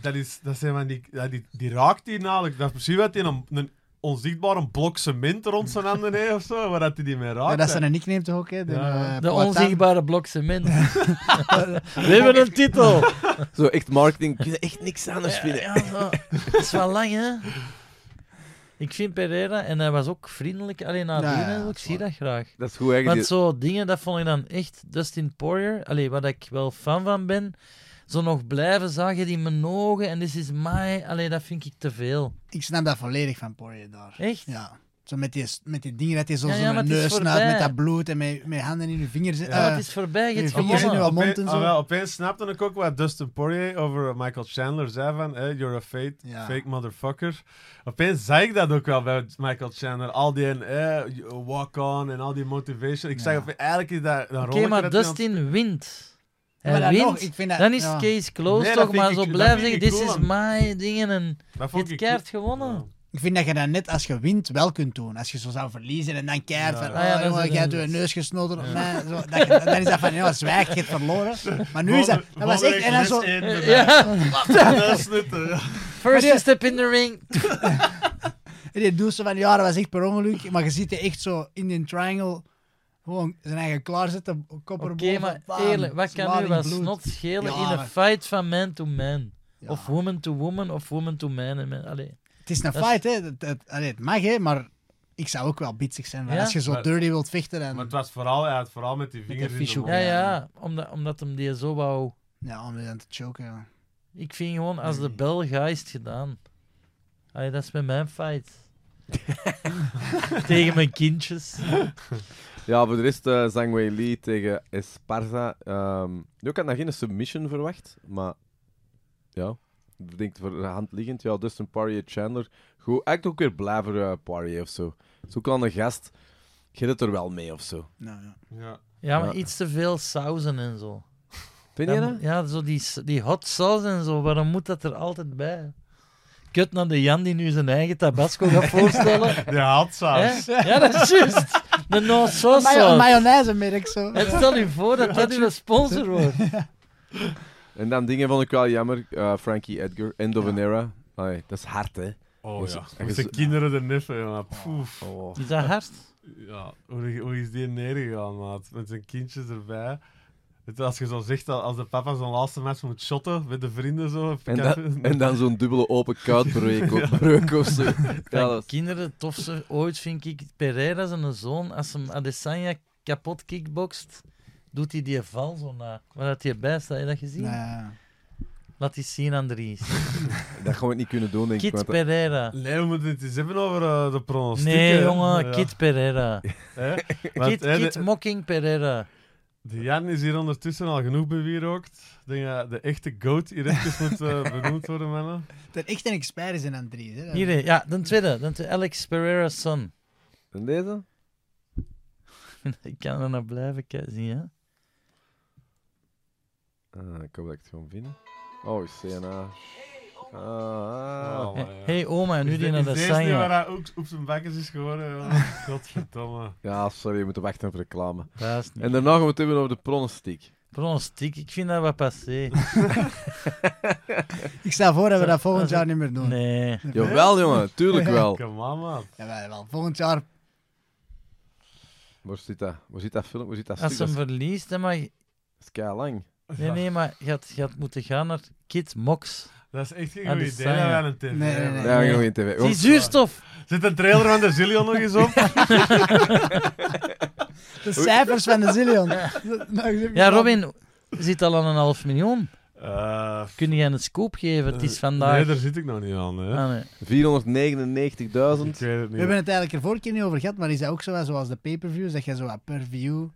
C: dat, is, dat zijn van die, dat die, die raakt die namelijk. Dat is precies wat hij een, een onzichtbare blok cement rond zijn handen heeft of zo, waar dat hij die mee raakt.
B: Ja, dat is een nickname toch ook, hè? De,
C: Ja, ja.
B: eh,
D: De
B: Poitin.
D: onzichtbare blok cement. We hebben een titel.
A: Zo echt marketing, kun je echt niks anders vinden.
D: Ja, zo. dat is wel lang, hè? Ik vind Pereira, en hij was ook vriendelijk alleen naar
B: Ja, ja,
D: binnen,
B: dat
D: ik
B: is
D: zie
B: waar.
D: dat graag.
A: Dat is goed eigenlijk.
D: Want zo dingen, dat vond ik dan echt Dustin Poirier, allee, wat ik wel fan van ben, zo nog blijven zagen die mijn ogen en this is my, allee, dat vind ik te veel.
B: Ik snap dat volledig van Poirier daar.
D: Echt?
B: Ja. Zo met die, met die dingen dat hij zo
D: Ja, ja,
B: zo'n
D: maar het is
B: neus snuit
D: voorbij.
B: met dat bloed en met, met handen in je vingers. eh,
C: Ja,
D: Ja, het is voorbij, je hebt
B: die vingers in
D: gewonnen.
B: uw mond en
C: Opeens-
B: zo.
C: ah, wel, opeens snapte ik ook wat Dustin Poirier over Michael Chandler zei van eh, you're a fake,
B: Ja.
C: fake motherfucker. Opeens zei ik dat ook wel bij Michael Chandler. Al die eh, walk on en al die motivation. Ik
B: Ja.
C: zei ope- eigenlijk is dat een
D: Oké,
C: rolletje
D: maar
C: dat hij aan-
D: Dustin wint.
B: maar
D: Hij
B: dan nog,
D: wint,
B: ik vind dat-
D: dan is
B: ja.
D: het case closed
C: Nee, dat
D: toch,
C: vind
D: maar
C: ik-
D: zo
C: dat
D: blijven
C: vind
D: zeggen,
C: ik
D: this is
C: cool
D: my, dingen en...
C: Dat
D: Je
C: vond
D: hebt
C: ik
D: keihard
C: cool.
D: gewonnen.
C: Ja.
B: Ik vind dat je dat net als je wint wel kunt doen. Als je zo zou verliezen en dan keihard van,
C: Ja.
B: oh,
D: Ah ja, dat is
B: jongen,
D: het
B: jij hebt je
D: inderdaad.
B: neus gesnoten op mij. Zo, dat je- dan is dat van, joh, zwijg, je hebt verloren. Maar nu is dat, dat was echt, en dan zo,
D: Ja,
B: Maar die-
D: first step in the ring.
B: en die doet ze van, ja, dat was echt per ongeluk. Maar je ziet die echt zo in die triangle gewoon zijn eigen klaarzetten, kop
D: Oké,
B: erboven.
D: maar
B: bam,
D: eerlijk, wat kan
B: zwaar
D: u
B: in
D: wat
B: bloed.
D: snot schelen
B: Ja,
D: in een
B: maar-
D: fight van man to man?
B: Ja.
D: Of woman to woman, of woman to man en man. Allee.
B: Het is een
D: Dat is-
B: fight, hè. Het, het, allee, het mag, hè, maar ik zou ook wel bitsig zijn. want
D: Ja?
B: Als je zo
C: Maar-
B: dirty wilt vechten en...
C: Maar het was vooral, hij had vooral met die
B: die
C: vingers in de
B: vishoek.
D: Ja,
C: mond.
D: ja, omdat, omdat hem die zo wou...
B: Ja, om je dan te choken, ja.
D: Ik vind gewoon, als de
A: Mm.
B: Nee.
D: bel gaat, is het gedaan. Allee, dat is bij mijn fight. Tegen mijn kindjes.
A: Ja, voor de rest eh Zhang Wei Li tegen Esparza. Ehm ja, ik had nog geen submission verwacht, maar ja, ik denk voor de hand liggend. Ja, Dustin Poirier, Chandler. Goed, eigenlijk ook weer blij voor eh, Poirier of zo. Zo kan een gast, je het er wel mee of zo.
B: Nou, ja.
C: Ja.
D: Ja, maar
A: Ja.
D: iets te veel sauzen en zo.
A: Vind je
D: Dan-
A: dat?
D: Ja, zo die, s- die hot sauce en zo. Waarom moet dat er altijd bij? Kut naar de Jan die nu zijn eigen tabasco gaat voorstellen.
C: De handsaus.
D: Hè? Ja, dat is juist. De no sauce
B: Mayo-
D: sauce.
B: mayonaise merk zo.
D: En stel je voor dat dat uw sponsor wordt.
A: En dan dingen vond ik wel jammer. eh, Frankie Edgar, End of
B: Ja.
A: an era. Allee, dat is hard, hè?
C: Oh ja.
A: Is- Oh,
C: Met zijn
A: is-
C: kinderen er niffen, ja. Poef.
D: Is dat hard?
C: Ja, hoe, hoe is die neergegaan, maat? Met zijn kindjes erbij. Het- Als je zo zegt, dat als de papa zijn laatste match moet shotten met de vrienden zo.
A: En, dan, en dan zo'n dubbele open kuitbreuk of, breuk of zo. Ja, dat
D: Dat
A: is-
D: kinderen het tofste ooit vind ik Pereira zijn zoon. Als hem Adesanya kapot kickboxt, doet hij die val zo na. Waar dat hij bij staat, heb je dat gezien?
B: Nee.
D: Laat die zien, Andries.
A: dat gaan we niet kunnen doen, denk ik.
D: Kid
A: want-
D: Pereira.
C: Nee, we moeten het eens hebben over eh, de pronostiek.
D: Nee,
C: hè.
D: jongen,
C: Ja.
D: Kid Pereira.
C: Hè? Want,
D: Kid,
C: hè, de-
D: Kid Mocking Pereira.
C: De Jan is hier ondertussen al genoeg bewierookt. Ik denk dat de echte goat hier even moet eh, benoemd worden, mannen.
B: Er echt een expert is in Andries, hè.
D: Hier, hè. ja, de tweede. De tweede, Alex Pereira's son.
A: En deze?
D: Ik kan er naar blijven kijken, zie je?
A: Ah, ik hoop dat ik het gewoon vind. Oh, CNA. Ah, ah.
C: Oh, ja.
D: hey, oma, en nu
C: Is
D: die
C: de-
D: naar
C: is
D: de
C: deze niet waar
D: Sanja.
C: hij ook op zijn bakkes is geworden? jongen? Godverdomme.
A: Ja, sorry, we moeten wachten op reclame.
D: Dat is niet.
A: En daarna gaan we het hebben over de pronostiek.
D: Pronostiek, ik vind dat wat passé.
B: Ik stel voor dat we dat volgend jaar
D: Zou-
B: niet meer doen.
D: Nee.
A: Jawel, jongen, tuurlijk wel.
C: Kom aan, man.
B: Ja, wel, wel. Volgend jaar...
A: Waar zit dat? Waar zit dat film? Waar zit dat
D: Als
A: stuk?
D: ze
A: Dat
D: hem
A: is-
D: verliest, dan mag
A: dat is kei lang.
D: Nee, nee, maar je had, je had moeten gaan naar Kid Mox.
C: Dat is echt geen
D: Ah,
C: goed
D: de
C: idee dat
D: Sanja.
C: wij een tv
B: Nee, nee,
C: hebben.
B: nee.
A: Ja, gewoon in tv.
D: Die
A: Gewoon-
D: zuurstof!
C: Zit een trailer van de Zillion nog eens op?
B: De cijfers van de Zillion.
D: Ja, Robin zit al aan een half miljoen.
C: Eh,
D: Kun jij een scoop geven? Het is
C: Nee,
D: vandaag.
C: daar zit ik nog niet aan. Hè.
D: Ah, nee.
A: 499.000.
C: Ik weet het
B: We
C: niet.
B: hebben het eigenlijk er vorige keer niet over gehad, maar is dat ook zo wat zoals de pay-per-views, dat je zo wat per view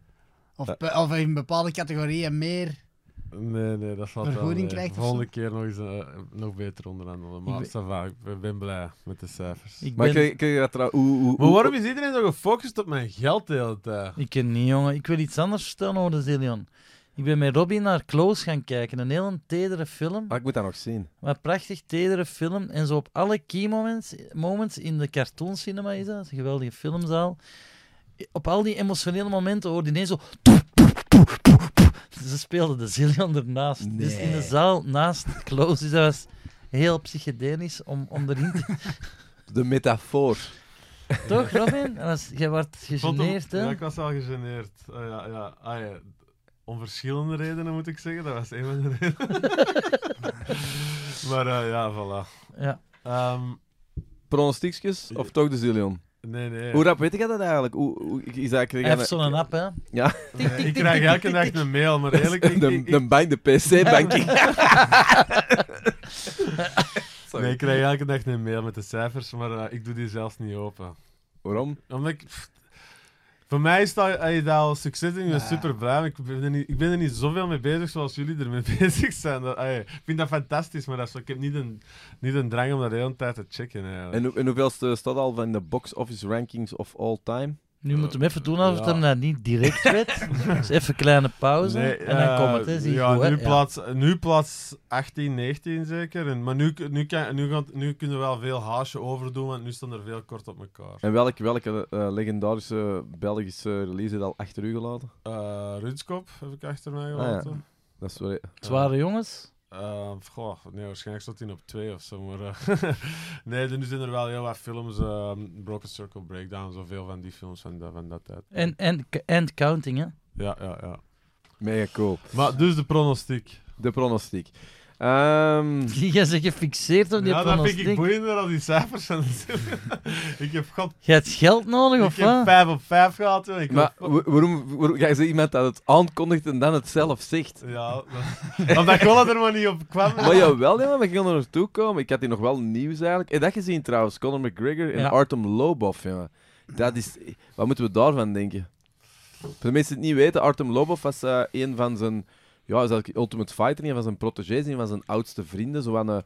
B: of,
A: Ja.
B: per- of in bepaalde categorieën meer...
C: Nee, nee, dat valt
B: Vergoeding
C: wel mee.
B: krijgt of
C: Volgende keer nog eens eh, nog beter onderhandelen. Maar
D: Ik
C: ça va, ik ben- ben blij met de cijfers.
D: Ik
A: Maar
D: ben...
A: krijg, krijg je dat trouwens... Oeh, oeh,
C: Maar
A: oeh.
C: waarom is iedereen zo gefocust op mijn geld de hele tijd?
D: Ik ken niet, jongen. Ik wil iets anders vertellen over de Zillion. Ik ben met Robin naar Close gaan kijken. Een heel tedere film.
A: Ah, ik moet dat nog zien.
D: Maar een prachtig tedere film. En zo op alle key moments, moments in de cartooncinema is dat. dat is een geweldige filmzaal. Op al die emotionele momenten hoorde je ineens zo... Ze speelden de Zillion ernaast. Dus in de
A: Nee.
D: zaal naast Close. Dus dat was heel psychedelisch om, om erin te...
A: De metafoor.
D: Toch, Robin? Dat was- Jij wordt
C: Vond hem-
D: gegeneerd, hè?
C: Ja, ik was wel gegeneerd. Ah, ja, ja. Ah, ja. Om verschillende redenen moet ik zeggen, dat was een van de redenen. maar eh, ja, voilà.
D: Ja.
C: Ehm,
A: Pronostiekjes of toch de zillion?
C: nee, nee.
A: Hoe rap weet ik dat eigenlijk? Hoe, hoe- is dat, krijg
D: Hij
A: je
D: heeft
A: dat-
D: zo'n app, hè?
A: Ja.
D: Tik, tik,
C: ik
D: tik,
C: krijg
D: tik,
C: elke
D: tik,
C: dag
D: tik.
C: een mail, maar eerlijk, ik,
A: de,
C: ik,
A: de bank, de PC-banking.
C: nee, ik krijg elke dag een mail met de cijfers, maar eh, ik doe die zelfs niet open.
A: Waarom?
C: Omdat ik... pff, voor mij is dat, ey, dat al succes en ik ben
B: Ja.
C: super blij. maar Ik ben, er niet, ik ben er niet zoveel mee bezig zoals jullie ermee bezig zijn. Dat, ey, ik vind dat fantastisch, maar dat is, zo- ik heb niet een, niet een drang om dat de hele tijd te checken. Eigenlijk.
A: En, hoe- en hoeveelste staat al van de box office rankings of all time?
D: Nu moeten we even doen alsof
C: Eh, Ja.
D: het hem dat niet direct weet. Dus even een kleine pauze.
C: Nee,
D: en dan
C: eh,
D: komt het, hè? Zie je
C: ja,
D: goed, hè?
C: nu,
D: Ja.
C: plaats, nu plaats 18, 19 zeker. En, maar nu, nu, kan, nu, gaan, nu kunnen we wel veel haasje overdoen, want nu staan er veel kort op elkaar.
A: En welke, welke eh, legendarische Belgische release heeft al achter u gelaten?
C: Eh Rutskop heb ik achter mij
A: Ah, ja.
C: gelaten.
A: Dat is wel...
D: Zware jongens.
C: Eh, goh, nee, waarschijnlijk staat hij op twee of zo. Maar, eh, nee, er- nu zijn er wel heel wat films. eh, Broken Circle Breakdown, zoveel van die films van, dat- van dat tijd.
D: En, en, en counting, hè?
C: Ja, ja, ja.
A: Mega cool.
C: Maar dus de pronostiek.
A: De pronostiek. Ehm,
D: Jij zegt gefixeerd op die
C: Ja, dat vind ik
D: pronostiek.
C: boeiender dan die cijfers. En ik heb, god,
D: Jij hebt geld nodig,
C: ik
D: of
C: heb
D: wat?
C: 5 op 5 gehad. joh. Ik
A: maar
C: heb-
A: wa- waarom, waarom ga je zo iemand dat het aankondigt en dan het zelf zegt?
C: Ja, dat, omdat Colin er maar niet op kwam.
A: Maar jawel, ja, we gingen er naartoe komen. Ik had hier nog wel nieuws eigenlijk. En dat gezien trouwens, Conor McGregor en
D: Ja.
A: Artem Lobov. jongen. Dat is, wat moeten we daarvan denken? Voor de mensen die het niet weten, Artem Lobov was eh, een van zijn... Ja, is eigenlijk Ultimate Fighter, een van zijn protégés, een van zijn oudste vrienden. Zo van, eh,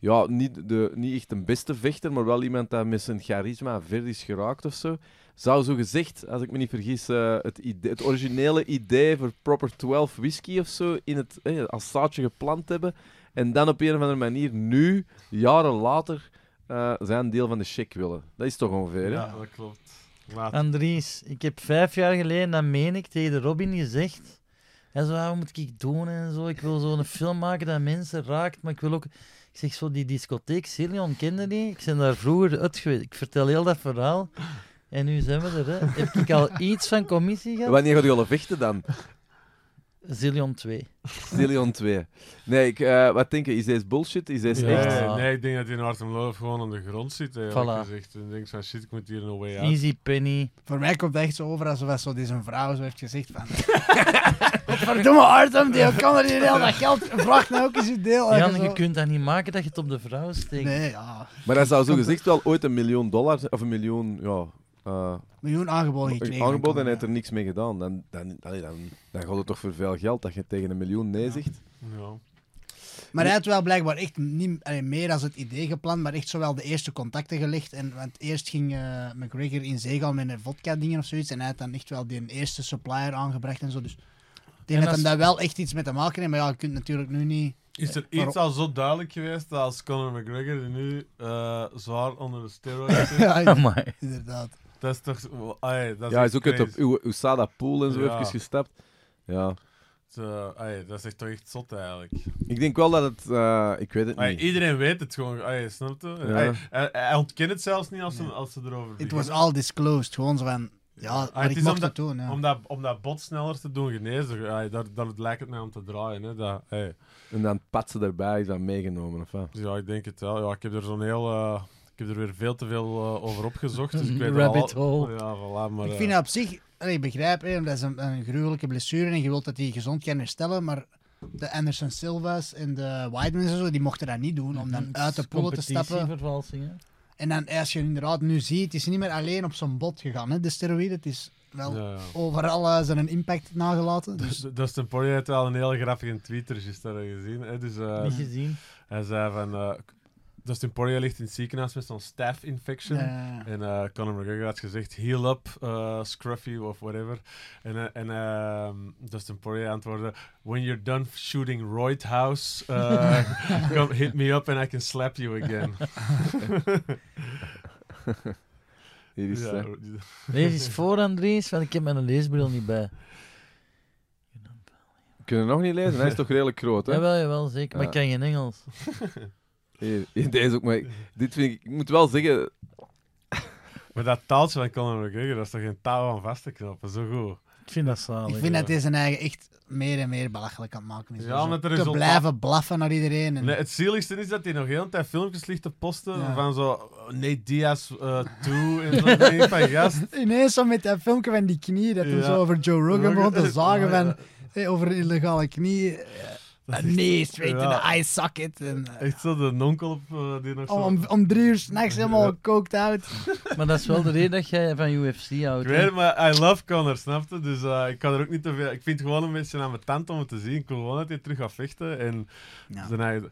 A: ja, niet, de, niet echt een beste vechter, maar wel iemand dat met zijn charisma ver is geraakt of zo. Zou zo gezegd, als ik me niet vergis, eh, het, idee, het originele idee voor Proper 12 whisky of zo in het, eh, als zaadje geplant hebben. En dan op een of andere manier nu, jaren later, eh, zijn deel van de check willen. Dat is toch ongeveer, hè?
C: Ja, dat klopt.
D: Ah,
C: Laat.
D: Andries, ik heb vijf jaar geleden, dat meen ik, tegen de Robin gezegd. Hij zo, ah, wat moet ik doen en zo. Ik wil zo'n film maken dat mensen raakt, maar ik wil ook... Ik zeg zo, die discotheek Cilion kende die. Ik ben daar vroeger uit geweest. Ik vertel heel dat verhaal. En nu zijn we er, hè. Heb ik al iets van commissie gehad?
A: Wanneer gaat u al vechten dan?
D: Zillion 2.
A: Zillion 2. Nee, ik, eh, wat denk je? Is deze bullshit? Is deze
C: Nee,
A: echt?
D: Ja.
C: nee, ik denk dat hij in Artem Love gewoon aan de grond zit. Voilà.
D: Voilà.
C: Gezegd. En denkt van shit, ik moet hier een way out.
D: Easy Penny.
B: Voor mij komt het echt zo over alsof dat zo deze vrouw zo heeft gezegd van... Verdomme Artem, die kan er hier heel dat geld. Vraag nou ook eens je deel.
D: Jan,
B: En
D: je
B: zo.
D: kunt dat niet maken dat je het op de vrouw steekt.
B: Nee, ja.
A: Maar dat zou zo gezegd wel ooit een miljoen dollar, zijn, of een miljoen, ja, eh,
B: Miljoen aangeboden gekregen.
A: aangeboden en hij heeft er niks mee gedaan. Dan, dan, allee, dan, dan gaat het toch voor veel geld dat je tegen een miljoen nee zegt?
C: Ja.
B: Maar hij had wel blijkbaar echt niet allee, meer als het idee gepland, maar echt zowel de eerste contacten gelegd. En, want eerst ging eh, McGregor in zee gaan met een vodka-dingen of zoiets. En hij had dan echt wel die eerste supplier aangebracht en zo. Dus ik denk
D: En
B: dat
D: als-
B: hem daar wel echt iets mee te maken heeft. Maar ja, je kunt natuurlijk nu niet...
C: Is er
B: Maar-
C: iets al zo duidelijk geweest dat als Conor McGregor die nu eh, zwaar onder de steroids zit?
B: Ja,
D: Amai.
B: inderdaad.
C: dat is toch... wow, ai, dat is
A: ja, hij
C: echt
A: is ook uit
C: crazy.
A: de U- USADA pool en zo
C: Ja.
A: even gestapt. Ja.
C: Zo, ai, dat is echt toch echt zot eigenlijk.
A: Ik denk wel dat het, eh, ik weet het
C: Ai,
A: niet.
C: iedereen weet het gewoon. Ai, snap je? Ai, hij, hij ontkent het zelfs niet als ze, als ze erover
B: It
C: beginnen.
B: was all disclosed. Gewoon zo van... Ja, maar
C: Ah, het
B: ik
C: is
B: mocht
C: omdat-
B: het doen. Ja.
C: om, dat, om dat bot sneller te doen genezen, ai, daar, daar lijkt het mij om te draaien. Hè, dat, ai.
A: En dan pat ze erbij, is dat meegenomen of wat?
C: Dus ja, ik denk het wel. Ja, ik heb er zo'n heel... eh, ik heb er weer veel te veel eh, over opgezocht. Dus ik weet
D: Rabbit
C: al,
D: hole.
C: Ja, voilà, maar...
B: ik
C: eh,
B: vind dat op zich... allee, ik begrijp, hè, dat is een, een gruwelijke blessure en je wilt dat hij gezond kan herstellen, maar de Anderson Silva's en de Whitemans en zo, die mochten dat niet doen, om
C: Mhm.
B: dan uit de poelen te stappen.
D: Competitievervalsing, hè.
B: En dan, als je inderdaad nu ziet, het is niet meer alleen op zijn bot gegaan, hè, de steroïden. Het is wel
C: ja, ja.
B: overal eh, zijn een impact nagelaten. Dus
C: Dus Dustin Poirier heeft wel een heel grappige Twitter, juist daar gezien. Hè? Dus, eh,
D: Niet gezien.
C: hij zei van... eh, Dustin Poirier ligt in het ziekenhuis met zo'n staph infection.
B: eh,
C: En eh Conor McGregor had gezegd, heal up, eh, scruffy of whatever. En, eh, en ehm, Dustin Poirier antwoordde, when you're done shooting Royd House, eh, come hit me up and I can slap you again.
A: Hier is, eh,
C: ja,
D: Lees eens voor, Andries, want ik heb mijn leesbril niet bij.
A: Kunnen we nog niet lezen? Hij is toch redelijk groot, hè?
D: Jawel, jawel, zeker. Maar ik
A: Ja.
D: kan geen Engels.
A: Hier, hier, deze ook, maar dit vind ik, ik moet wel zeggen,
C: maar dat taaltje van Conor McGregor, dat is toch geen taal aan vast te knopen, zo goed.
D: Ik vind dat zalig.
B: ik vind dat hij zijn eigen echt meer en meer belachelijk aan het maken is.
C: Ja,
B: Door zo
C: omdat er
B: te
C: resultaat-
B: blijven blaffen naar iedereen. En,
C: Nee, het zieligste is dat hij nog heel een tijd filmpjes ligt te posten
B: Ja.
C: van zo oh, Nate Diaz eh toe en zo. Dan denk ik van gast.
B: Ineens zo met dat filmpje van die knie, dat hij
C: Ja.
B: zo over Joe Rogan begon te zagen
C: Ah, Ja,
B: van, hey, over een illegale knie. eh, een nee, straight in
C: Ja.
B: the eye socket. En, eh,
C: Echt zo de nonkel op eh, die nog zo...
B: om, Oh, om, om drie uur s'nachts helemaal
C: Ja.
B: gekookt out.
D: Maar dat is wel de reden dat jij van UFC
C: Ik
D: houdt.
C: weet
D: hè.
C: het, maar I love Connor, snap je? Dus eh, ik kan er ook niet te veel... Ik vind het gewoon een beetje aan mijn tand om het te zien. Ik wil gewoon dat hij terug gaat vechten. En
B: Ja.
C: zijn eigen...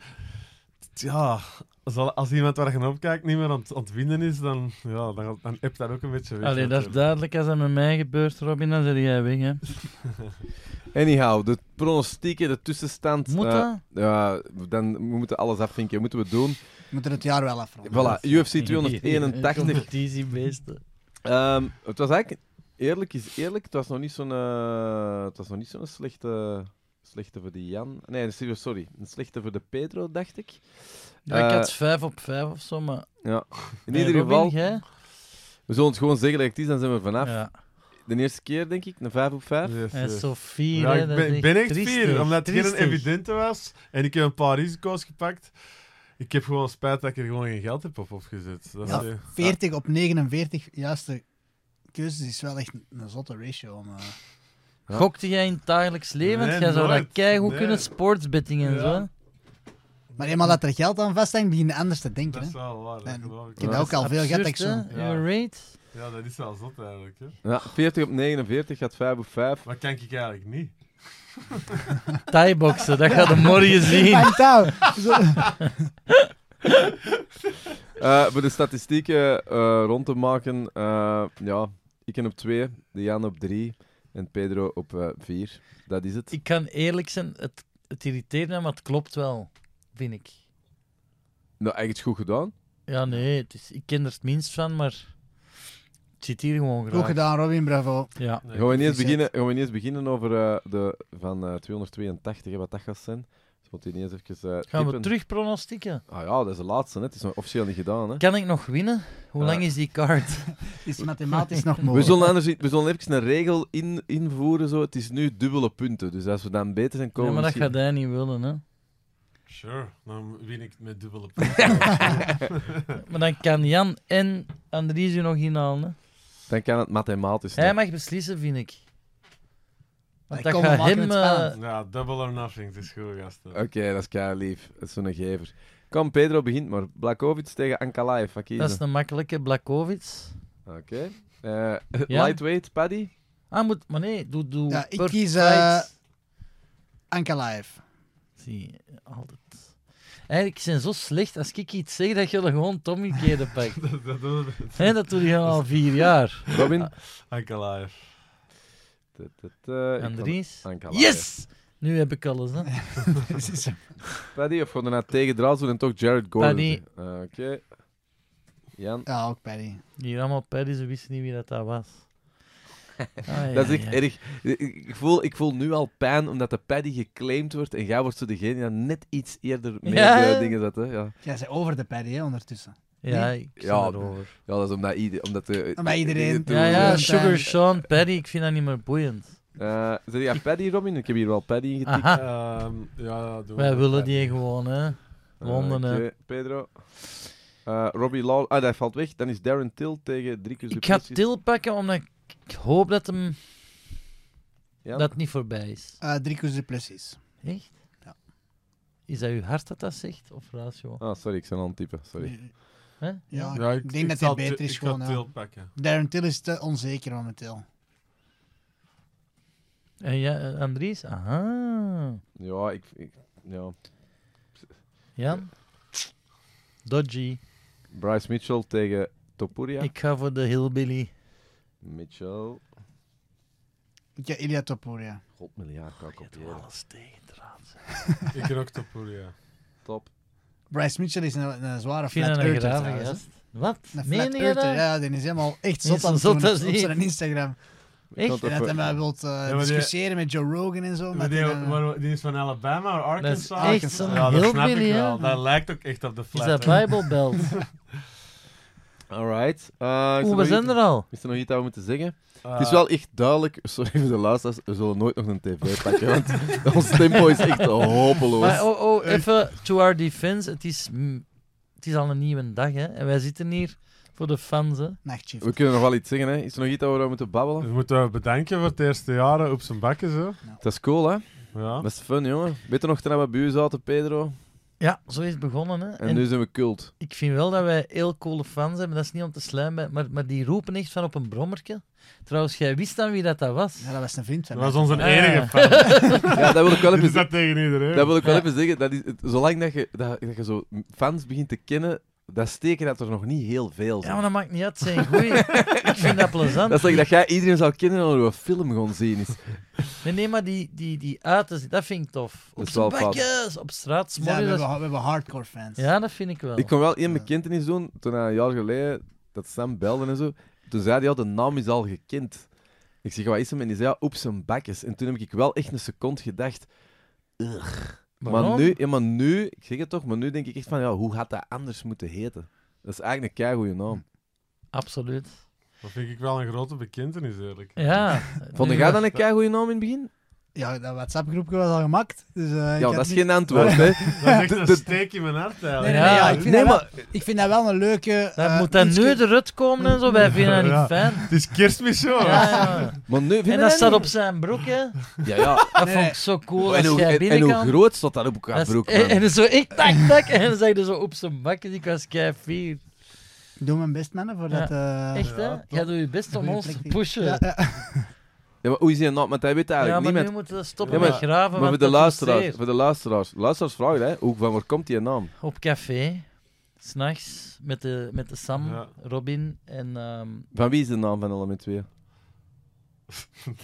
C: Ja, als, als iemand waar je naar opkijkt niet meer aan het ontwinden is, dan, ja, dan, dan hebt dat ook een beetje weg.
D: Allee, dat is
C: natuurlijk.
D: duidelijk. Als dat met mij gebeurt, Robin, dan zit jij weg, hè.
C: Eh,
A: anyhow, de pronostieken, de tussenstand.
D: Moet
A: eh,
D: dat?
A: ja, dan we moeten alles afvinken, moeten we doen.
B: We moeten het jaar wel afronden.
A: Voilà, UFC 281.
D: Competitiebeesten.
C: Eh,
A: Ehm, het was eigenlijk, eerlijk is eerlijk, het was nog niet zo'n eh, het was nog niet zo'n slechte, slechte voor die Jan. Nee, sorry, een slechte voor de Pedro, dacht ik.
D: Ja, ik
A: Eh,
D: had 5 op 5 of zo, maar...
A: Ja. In
D: Nee,
A: ieder
D: Robin,
A: geval,
D: jij?
A: we zullen het gewoon zeggen dat het is, dan zijn we vanaf.
D: Ja.
A: de eerste keer, denk ik, een 5 op 5.
C: Yes,
D: En
C: yes.
D: Sofie,
C: Ja,
D: hè,
C: ik
D: dat
C: ben,
D: is
C: ben echt
D: triestig,
C: fier, omdat het geen
D: triestig.
C: evidente was. En ik heb een paar risico's gepakt. Ik heb gewoon spijt dat ik er gewoon geen geld heb op opgezet. Dat
B: Ja,
C: is, eh,
B: 40 op 49 juiste keuzes is wel echt een- een zotte ratio. eh, Maar...
A: Ja.
D: Gokte jij in het dagelijks leven?
C: Nee,
D: jij zou dat
C: nooit.
D: keigoed
C: Nee.
D: kunnen, sportsbetting en
C: Ja.
D: zo.
B: maar eenmaal dat er geld aan vasthangt, begin je anders te denken.
C: dat
B: Hè?
C: is wel waar, dat
B: En-
C: geloof ik.
B: Ik heb
C: Ja.
B: ook al veel gehad. dat ik
D: Absurd,
B: zo-
D: hè,
C: Ja.
D: Een raid.
C: Ja, dat is wel zot eigenlijk. Hè.
A: Ja, 40 op 49 gaat 5 op 5.
C: Maar kan ik eigenlijk niet.
D: Thai-boxen, dat gaat hem morgen zien.
B: Mijn touw. Zo.
A: Eh, voor de statistieken eh, rond te maken, eh, ja, ik op 2, de Jan op 3 en Pedro op 4. dat is het.
D: Ik kan eerlijk zijn, het, het irriteert me, maar het klopt wel, vind ik.
A: Nou, eigenlijk goed gedaan.
D: Ja, nee, het is, ik ken er het minst van, maar het zit hier gewoon graag.
B: Goed gedaan, Robin, bravo.
D: Ja.
C: Nee.
A: Gaan we niet eens
B: Efficiënt.
A: beginnen, gaan we niet eens beginnen over eh, de, van eh, 282, hè, wat dat gaat zijn. Dus moet je niet eens even eh,
D: Gaan we
A: tippen.
D: terug pronostieken?
A: Ah ja, dat is de laatste, hè. het is nog officieel niet gedaan. Hè.
D: Kan ik nog winnen? Hoe
A: Ja.
D: lang is die kaart?
B: Is mathematisch nog
A: We
B: mogelijk.
A: zullen, anders, we zullen even een regel in, invoeren. Zo. Het is nu dubbele punten. Dus als we dan beter zijn
D: Ja,
A: komen.
D: maar dat
A: misschien-
D: gaat hij niet willen, hè.
C: Sure, dan win ik met dubbele punten.
D: Maar dan kan Jan en Andries u nog inhalen, hè.
A: Dan kan het mathematisch.
D: Hij
A: nog.
D: mag beslissen, vind ik. Want
B: Ik
D: dat
B: kom,
D: gaat
B: we maken
D: hem...
B: het spannend.
D: eh,
C: ja, double or nothing, het is goed, gasten.
A: Oké, dat is kei lief. Dat is zo'n gever. Kom, Pedro begint maar. Blakovic tegen Ankalaev. Wat
D: dat is
A: kiezen?
D: een makkelijke, Blakovic.
A: Oké. Eh,
D: Ja?
A: Lightweight, Paddy.
D: Ah, moet... Maar nee, doe... doe
B: Ja, ik
D: per
B: kies,
D: fight.
B: eh, Anka live.
D: Zie, altijd... Eigenlijk zijn zo slecht als ik iets zeg dat je er gewoon het omgekeerde pakt.
C: dat dat doen we met
D: Hé, dat doe je al vier jaar.
A: Robin.
C: Ankalaev.
A: Tut, tut, eh, ik
D: Andries.
A: kan Ankalaev.
D: Yes! Nu heb ik alles, hè.
A: Paddy, of gewoon daarna tegen Draals doen en toch Jared Gordon.
D: Paddy.
A: doen? Eh, Oké. Jan.
B: Ja, ook Paddy.
D: Die allemaal Paddy, ze wisten niet wie dat, dat was. Ah, ja,
A: Dat is echt
D: ja.
A: erg. Ik- Ik voel, ik voel nu al pijn omdat de paddy geclaimd wordt en jij wordt zo degene die dan net iets eerder mee
D: Ja.
A: op de dingen zet. Hè? Ja.
B: Jij zei over de Paddy, hè, ondertussen.
D: Ja, ik zit
A: Ja,
D: erover.
A: ja, dat is omdat, ieder, omdat de,
B: Omdat iedereen-
A: de-
D: Ja, ja,
B: Doe-
D: Sugar
B: Doe-
D: Sean, Paddy, ik vind dat niet meer boeiend.
A: Eh, zeg je aan paddy, Robin? Ik heb hier wel paddy ingetikt.
B: Ah.
D: Aha,
C: Ehm, ja, doen we
D: wij
C: met
D: willen
C: Paddy.
D: die gewoon, hè. Londen,
A: Eh,
D: hè.
A: oké, Pedro. Eh, Robbie Law. Ah, dat valt weg. Dan is Darren Till tegen Dricus
D: Ik ga Til pakken, omdat ik- ik hoop dat hem...
A: Ja.
D: Dat het niet voorbij is.
B: Eh drie koers de plussies.
D: Echt?
B: Ja.
D: Is dat uw hart dat dat zegt, of ratio?
A: Ah, sorry, ik ben aan het typen. Sorry.
D: Hè?
B: Ja,
C: Ja,
B: ik, denk dat
C: zal
B: hij beter
C: Til-
B: is
C: ik
B: gewoon.
C: ga
B: ja.
C: Til pakken.
B: Darren Till is te onzeker momenteel.
D: En ja, eh, Andries? Aha.
A: Ja, ik. ik- ja.
D: Jan? Dodgy.
A: Bryce Mitchell tegen Topuria.
D: Ik ga voor de hillbilly.
A: Mitchell.
B: Ik heb Ilya Topuria.
A: God miljard kan ik kopiëren.
D: Alles tegen draad.
C: Ik kan ook Topuria.
A: Top.
B: Bryce Mitchell is een, een zware
D: Ik vind
B: flat
D: dat een
B: earther
D: grave
B: trouwens, hè.
D: gast. Wat?
B: Een
D: Meen
B: flat
D: je
B: earther,
D: dat?
B: ja, die is helemaal echt
D: Die is
B: zot aan het
D: zo zot
B: doen op,
D: als
B: op
D: die.
B: zijn Instagram.
D: Echt?
B: En dat hij mij wilt eh,
C: maar die-
B: discussiëren met Joe Rogan en zo.
C: Maar
B: Maar
C: die,
B: dan, eh,
C: maar die is van Alabama of Arkansas?
D: Dat is echt zo'n
C: ja, dat snap
D: hillbilly,
C: ik
D: hè.
C: wel. Dat lijkt ook echt op de
D: Is
C: flat.
D: dat
C: hè.
D: Bible Belt?
A: Alright. Eh, is er
D: Oeh, we
A: nog
D: zijn
A: iets-
D: er al.
A: Is er nog iets dat we moeten zeggen?
C: Eh,
A: het is wel echt duidelijk, sorry voor de luisteraars, we zullen nooit nog een tv pakken, want ons tempo is echt hopeloos.
D: Maar oh, oh, even to our defense. Het is, mm, het is al een nieuwe dag, hè. En wij zitten hier voor de fans, hè.
B: Nachtshift.
A: we kunnen nog wel iets zeggen, hè? Is er nog iets dat we daar moeten babbelen?
C: We Dus moeten bedanken voor het eerste jaren op zijn bakken, zo.
A: Dat is cool, hè?
C: Ja.
A: Dat is fun, jongen. Weet je nog toen we bij u zaten, Pedro?
D: Ja, zo is het begonnen, hè.
A: En, dus-
D: En
A: nu zijn we cult.
D: ik vind wel dat wij heel coole fans hebben. Dat is niet om te sluimen, maar, maar die roepen echt van op een brommerke. Trouwens, jij wist dan wie dat, dat was.
B: Ja, dat was een vriend van
C: Dat
B: mij.
C: was onze
D: Ah.
C: enige fan.
A: Ja, dat wil ik wel
C: Dit
A: even,
C: is
A: dat...
C: dat tegen iedereen.
A: wil ik wel even zeggen. Dat is, het- zolang dat je, dat, dat je zo fans begint te kennen, dat steken dat er nog niet heel veel
D: Ja,
A: zijn.
D: maar dat maakt niet uit. Het zijn goeie. ik vind dat plezant.
A: Dat is like dat jij iedereen zou kennen en er een film gaan zien is.
D: Nee, nee, maar die, die, die uiten, dat vind ik tof. Op
A: is wel
D: z'n bakjes, op straat,
B: Ja, we,
D: smorgen.
B: hebben,
D: dat-
B: we hebben hardcore fans.
D: Ja, dat vind ik wel.
A: Ik kon wel één
B: Ja.
A: bekentenis doen, toen hij een jaar geleden, dat Sam belde en zo. Toen zei hij, ja, de naam is al gekend. Ik zeg, wat is hem? En die zei, ja, op zijn bakjes. En toen heb ik wel echt een seconde gedacht. Ugh. Maar
D: Waarom?
A: nu, ja, maar nu, ik zeg het toch, maar nu denk ik echt van, ja, hoe had dat anders moeten heten? Dat is eigenlijk een keigoeie naam.
D: Absoluut.
C: Dat vind ik wel een grote bekentenis, eerlijk.
D: Ja.
A: Vond
D: nu-
A: jij dan een kei goede naam in het begin?
B: Ja, dat WhatsApp-groepje was al gemaakt. Dus, eh, ik
A: Ja,
B: had
A: dat is
B: niet-
A: geen antwoord, hè?
C: Dat is echt
A: De-
C: een steek in mijn hart,
B: Nee,
C: eigenlijk.
B: nee, nee, ja, ik vind
A: Nee,
B: dat wel- Ik vind dat wel een leuke...
D: Daar
B: eh,
D: moet dat
B: ietske-
D: nu eruit komen en zo, wij vinden dat niet
C: Ja.
D: fijn.
C: Het is kerstmis, hoor.
D: Ja, ja.
A: Maar nu, vind je
D: En dat
A: dat
D: staat
A: niet?
D: op zijn broek, hè.
A: Ja, ja.
D: Dat
B: Nee.
D: vond ik zo cool.
A: En
D: Als
A: hoe,
D: jij
A: en, en hoe
D: binnenkwam...
A: groot staat dat op elkaar
D: dat is-
A: broek,
D: en,
A: man?
D: en zo, ik tak, tak, en dan zag je zo op zijn bak en ik was kei fier.
B: Ik doe mijn best, mannen, voor
D: Ja,
B: dat... eh,
D: Echt, eh, hè?
C: Ja,
D: Jij doet je best om
B: goeie
D: ons te
B: plek.
D: pushen.
B: Ja,
D: Ja,
B: ja.
A: Ja, maar hoe is die naam? Want hij weet
D: maar
A: eigenlijk niet
D: nu
A: met...
D: moeten we stoppen
A: Ja, maar-
D: met graven,
A: Maar
D: want
A: voor de,
D: dat doet
A: luisteraars,
D: zeer.
A: voor de luisteraars, luisteraars vragen, hè, hoe, van waar komt die naam?
D: Op café, s'nachts, met de, met de Sam,
C: Ja.
D: Robin en... ehm,
A: Van wie is de naam van element 2?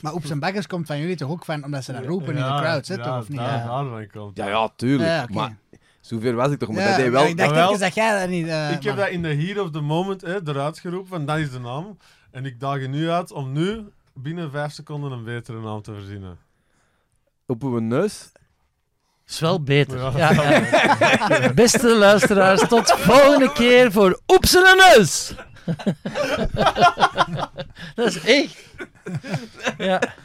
B: Maar op zijn bakkers komt van jullie toch ook van, omdat ze dat roepen in
C: Ja,
B: de crowd, hè, toch? Of niet?
C: Ja, daar-
B: Ja.
C: daarvan komt
A: Ja,
C: het.
A: ja, tuurlijk.
B: Ja, oké.
A: Maar zover was ik toch, maar
B: Ja,
A: dat deed
B: maar
A: wel...
B: Ik dacht
C: Jawel.
B: even dat jij dat niet... eh,
C: Ik heb
B: man.
C: dat in de heat of the moment hè, eruit geroepen, van dat is de naam. En ik daag je nu uit om nu binnen vijf seconden een betere naam te verzinnen.
A: Op uw neus?
D: is wel beter.
C: Ja.
D: Ja, ja. Beste luisteraars, tot volgende keer voor Oepsen en Neus. Dat is echt. Ja.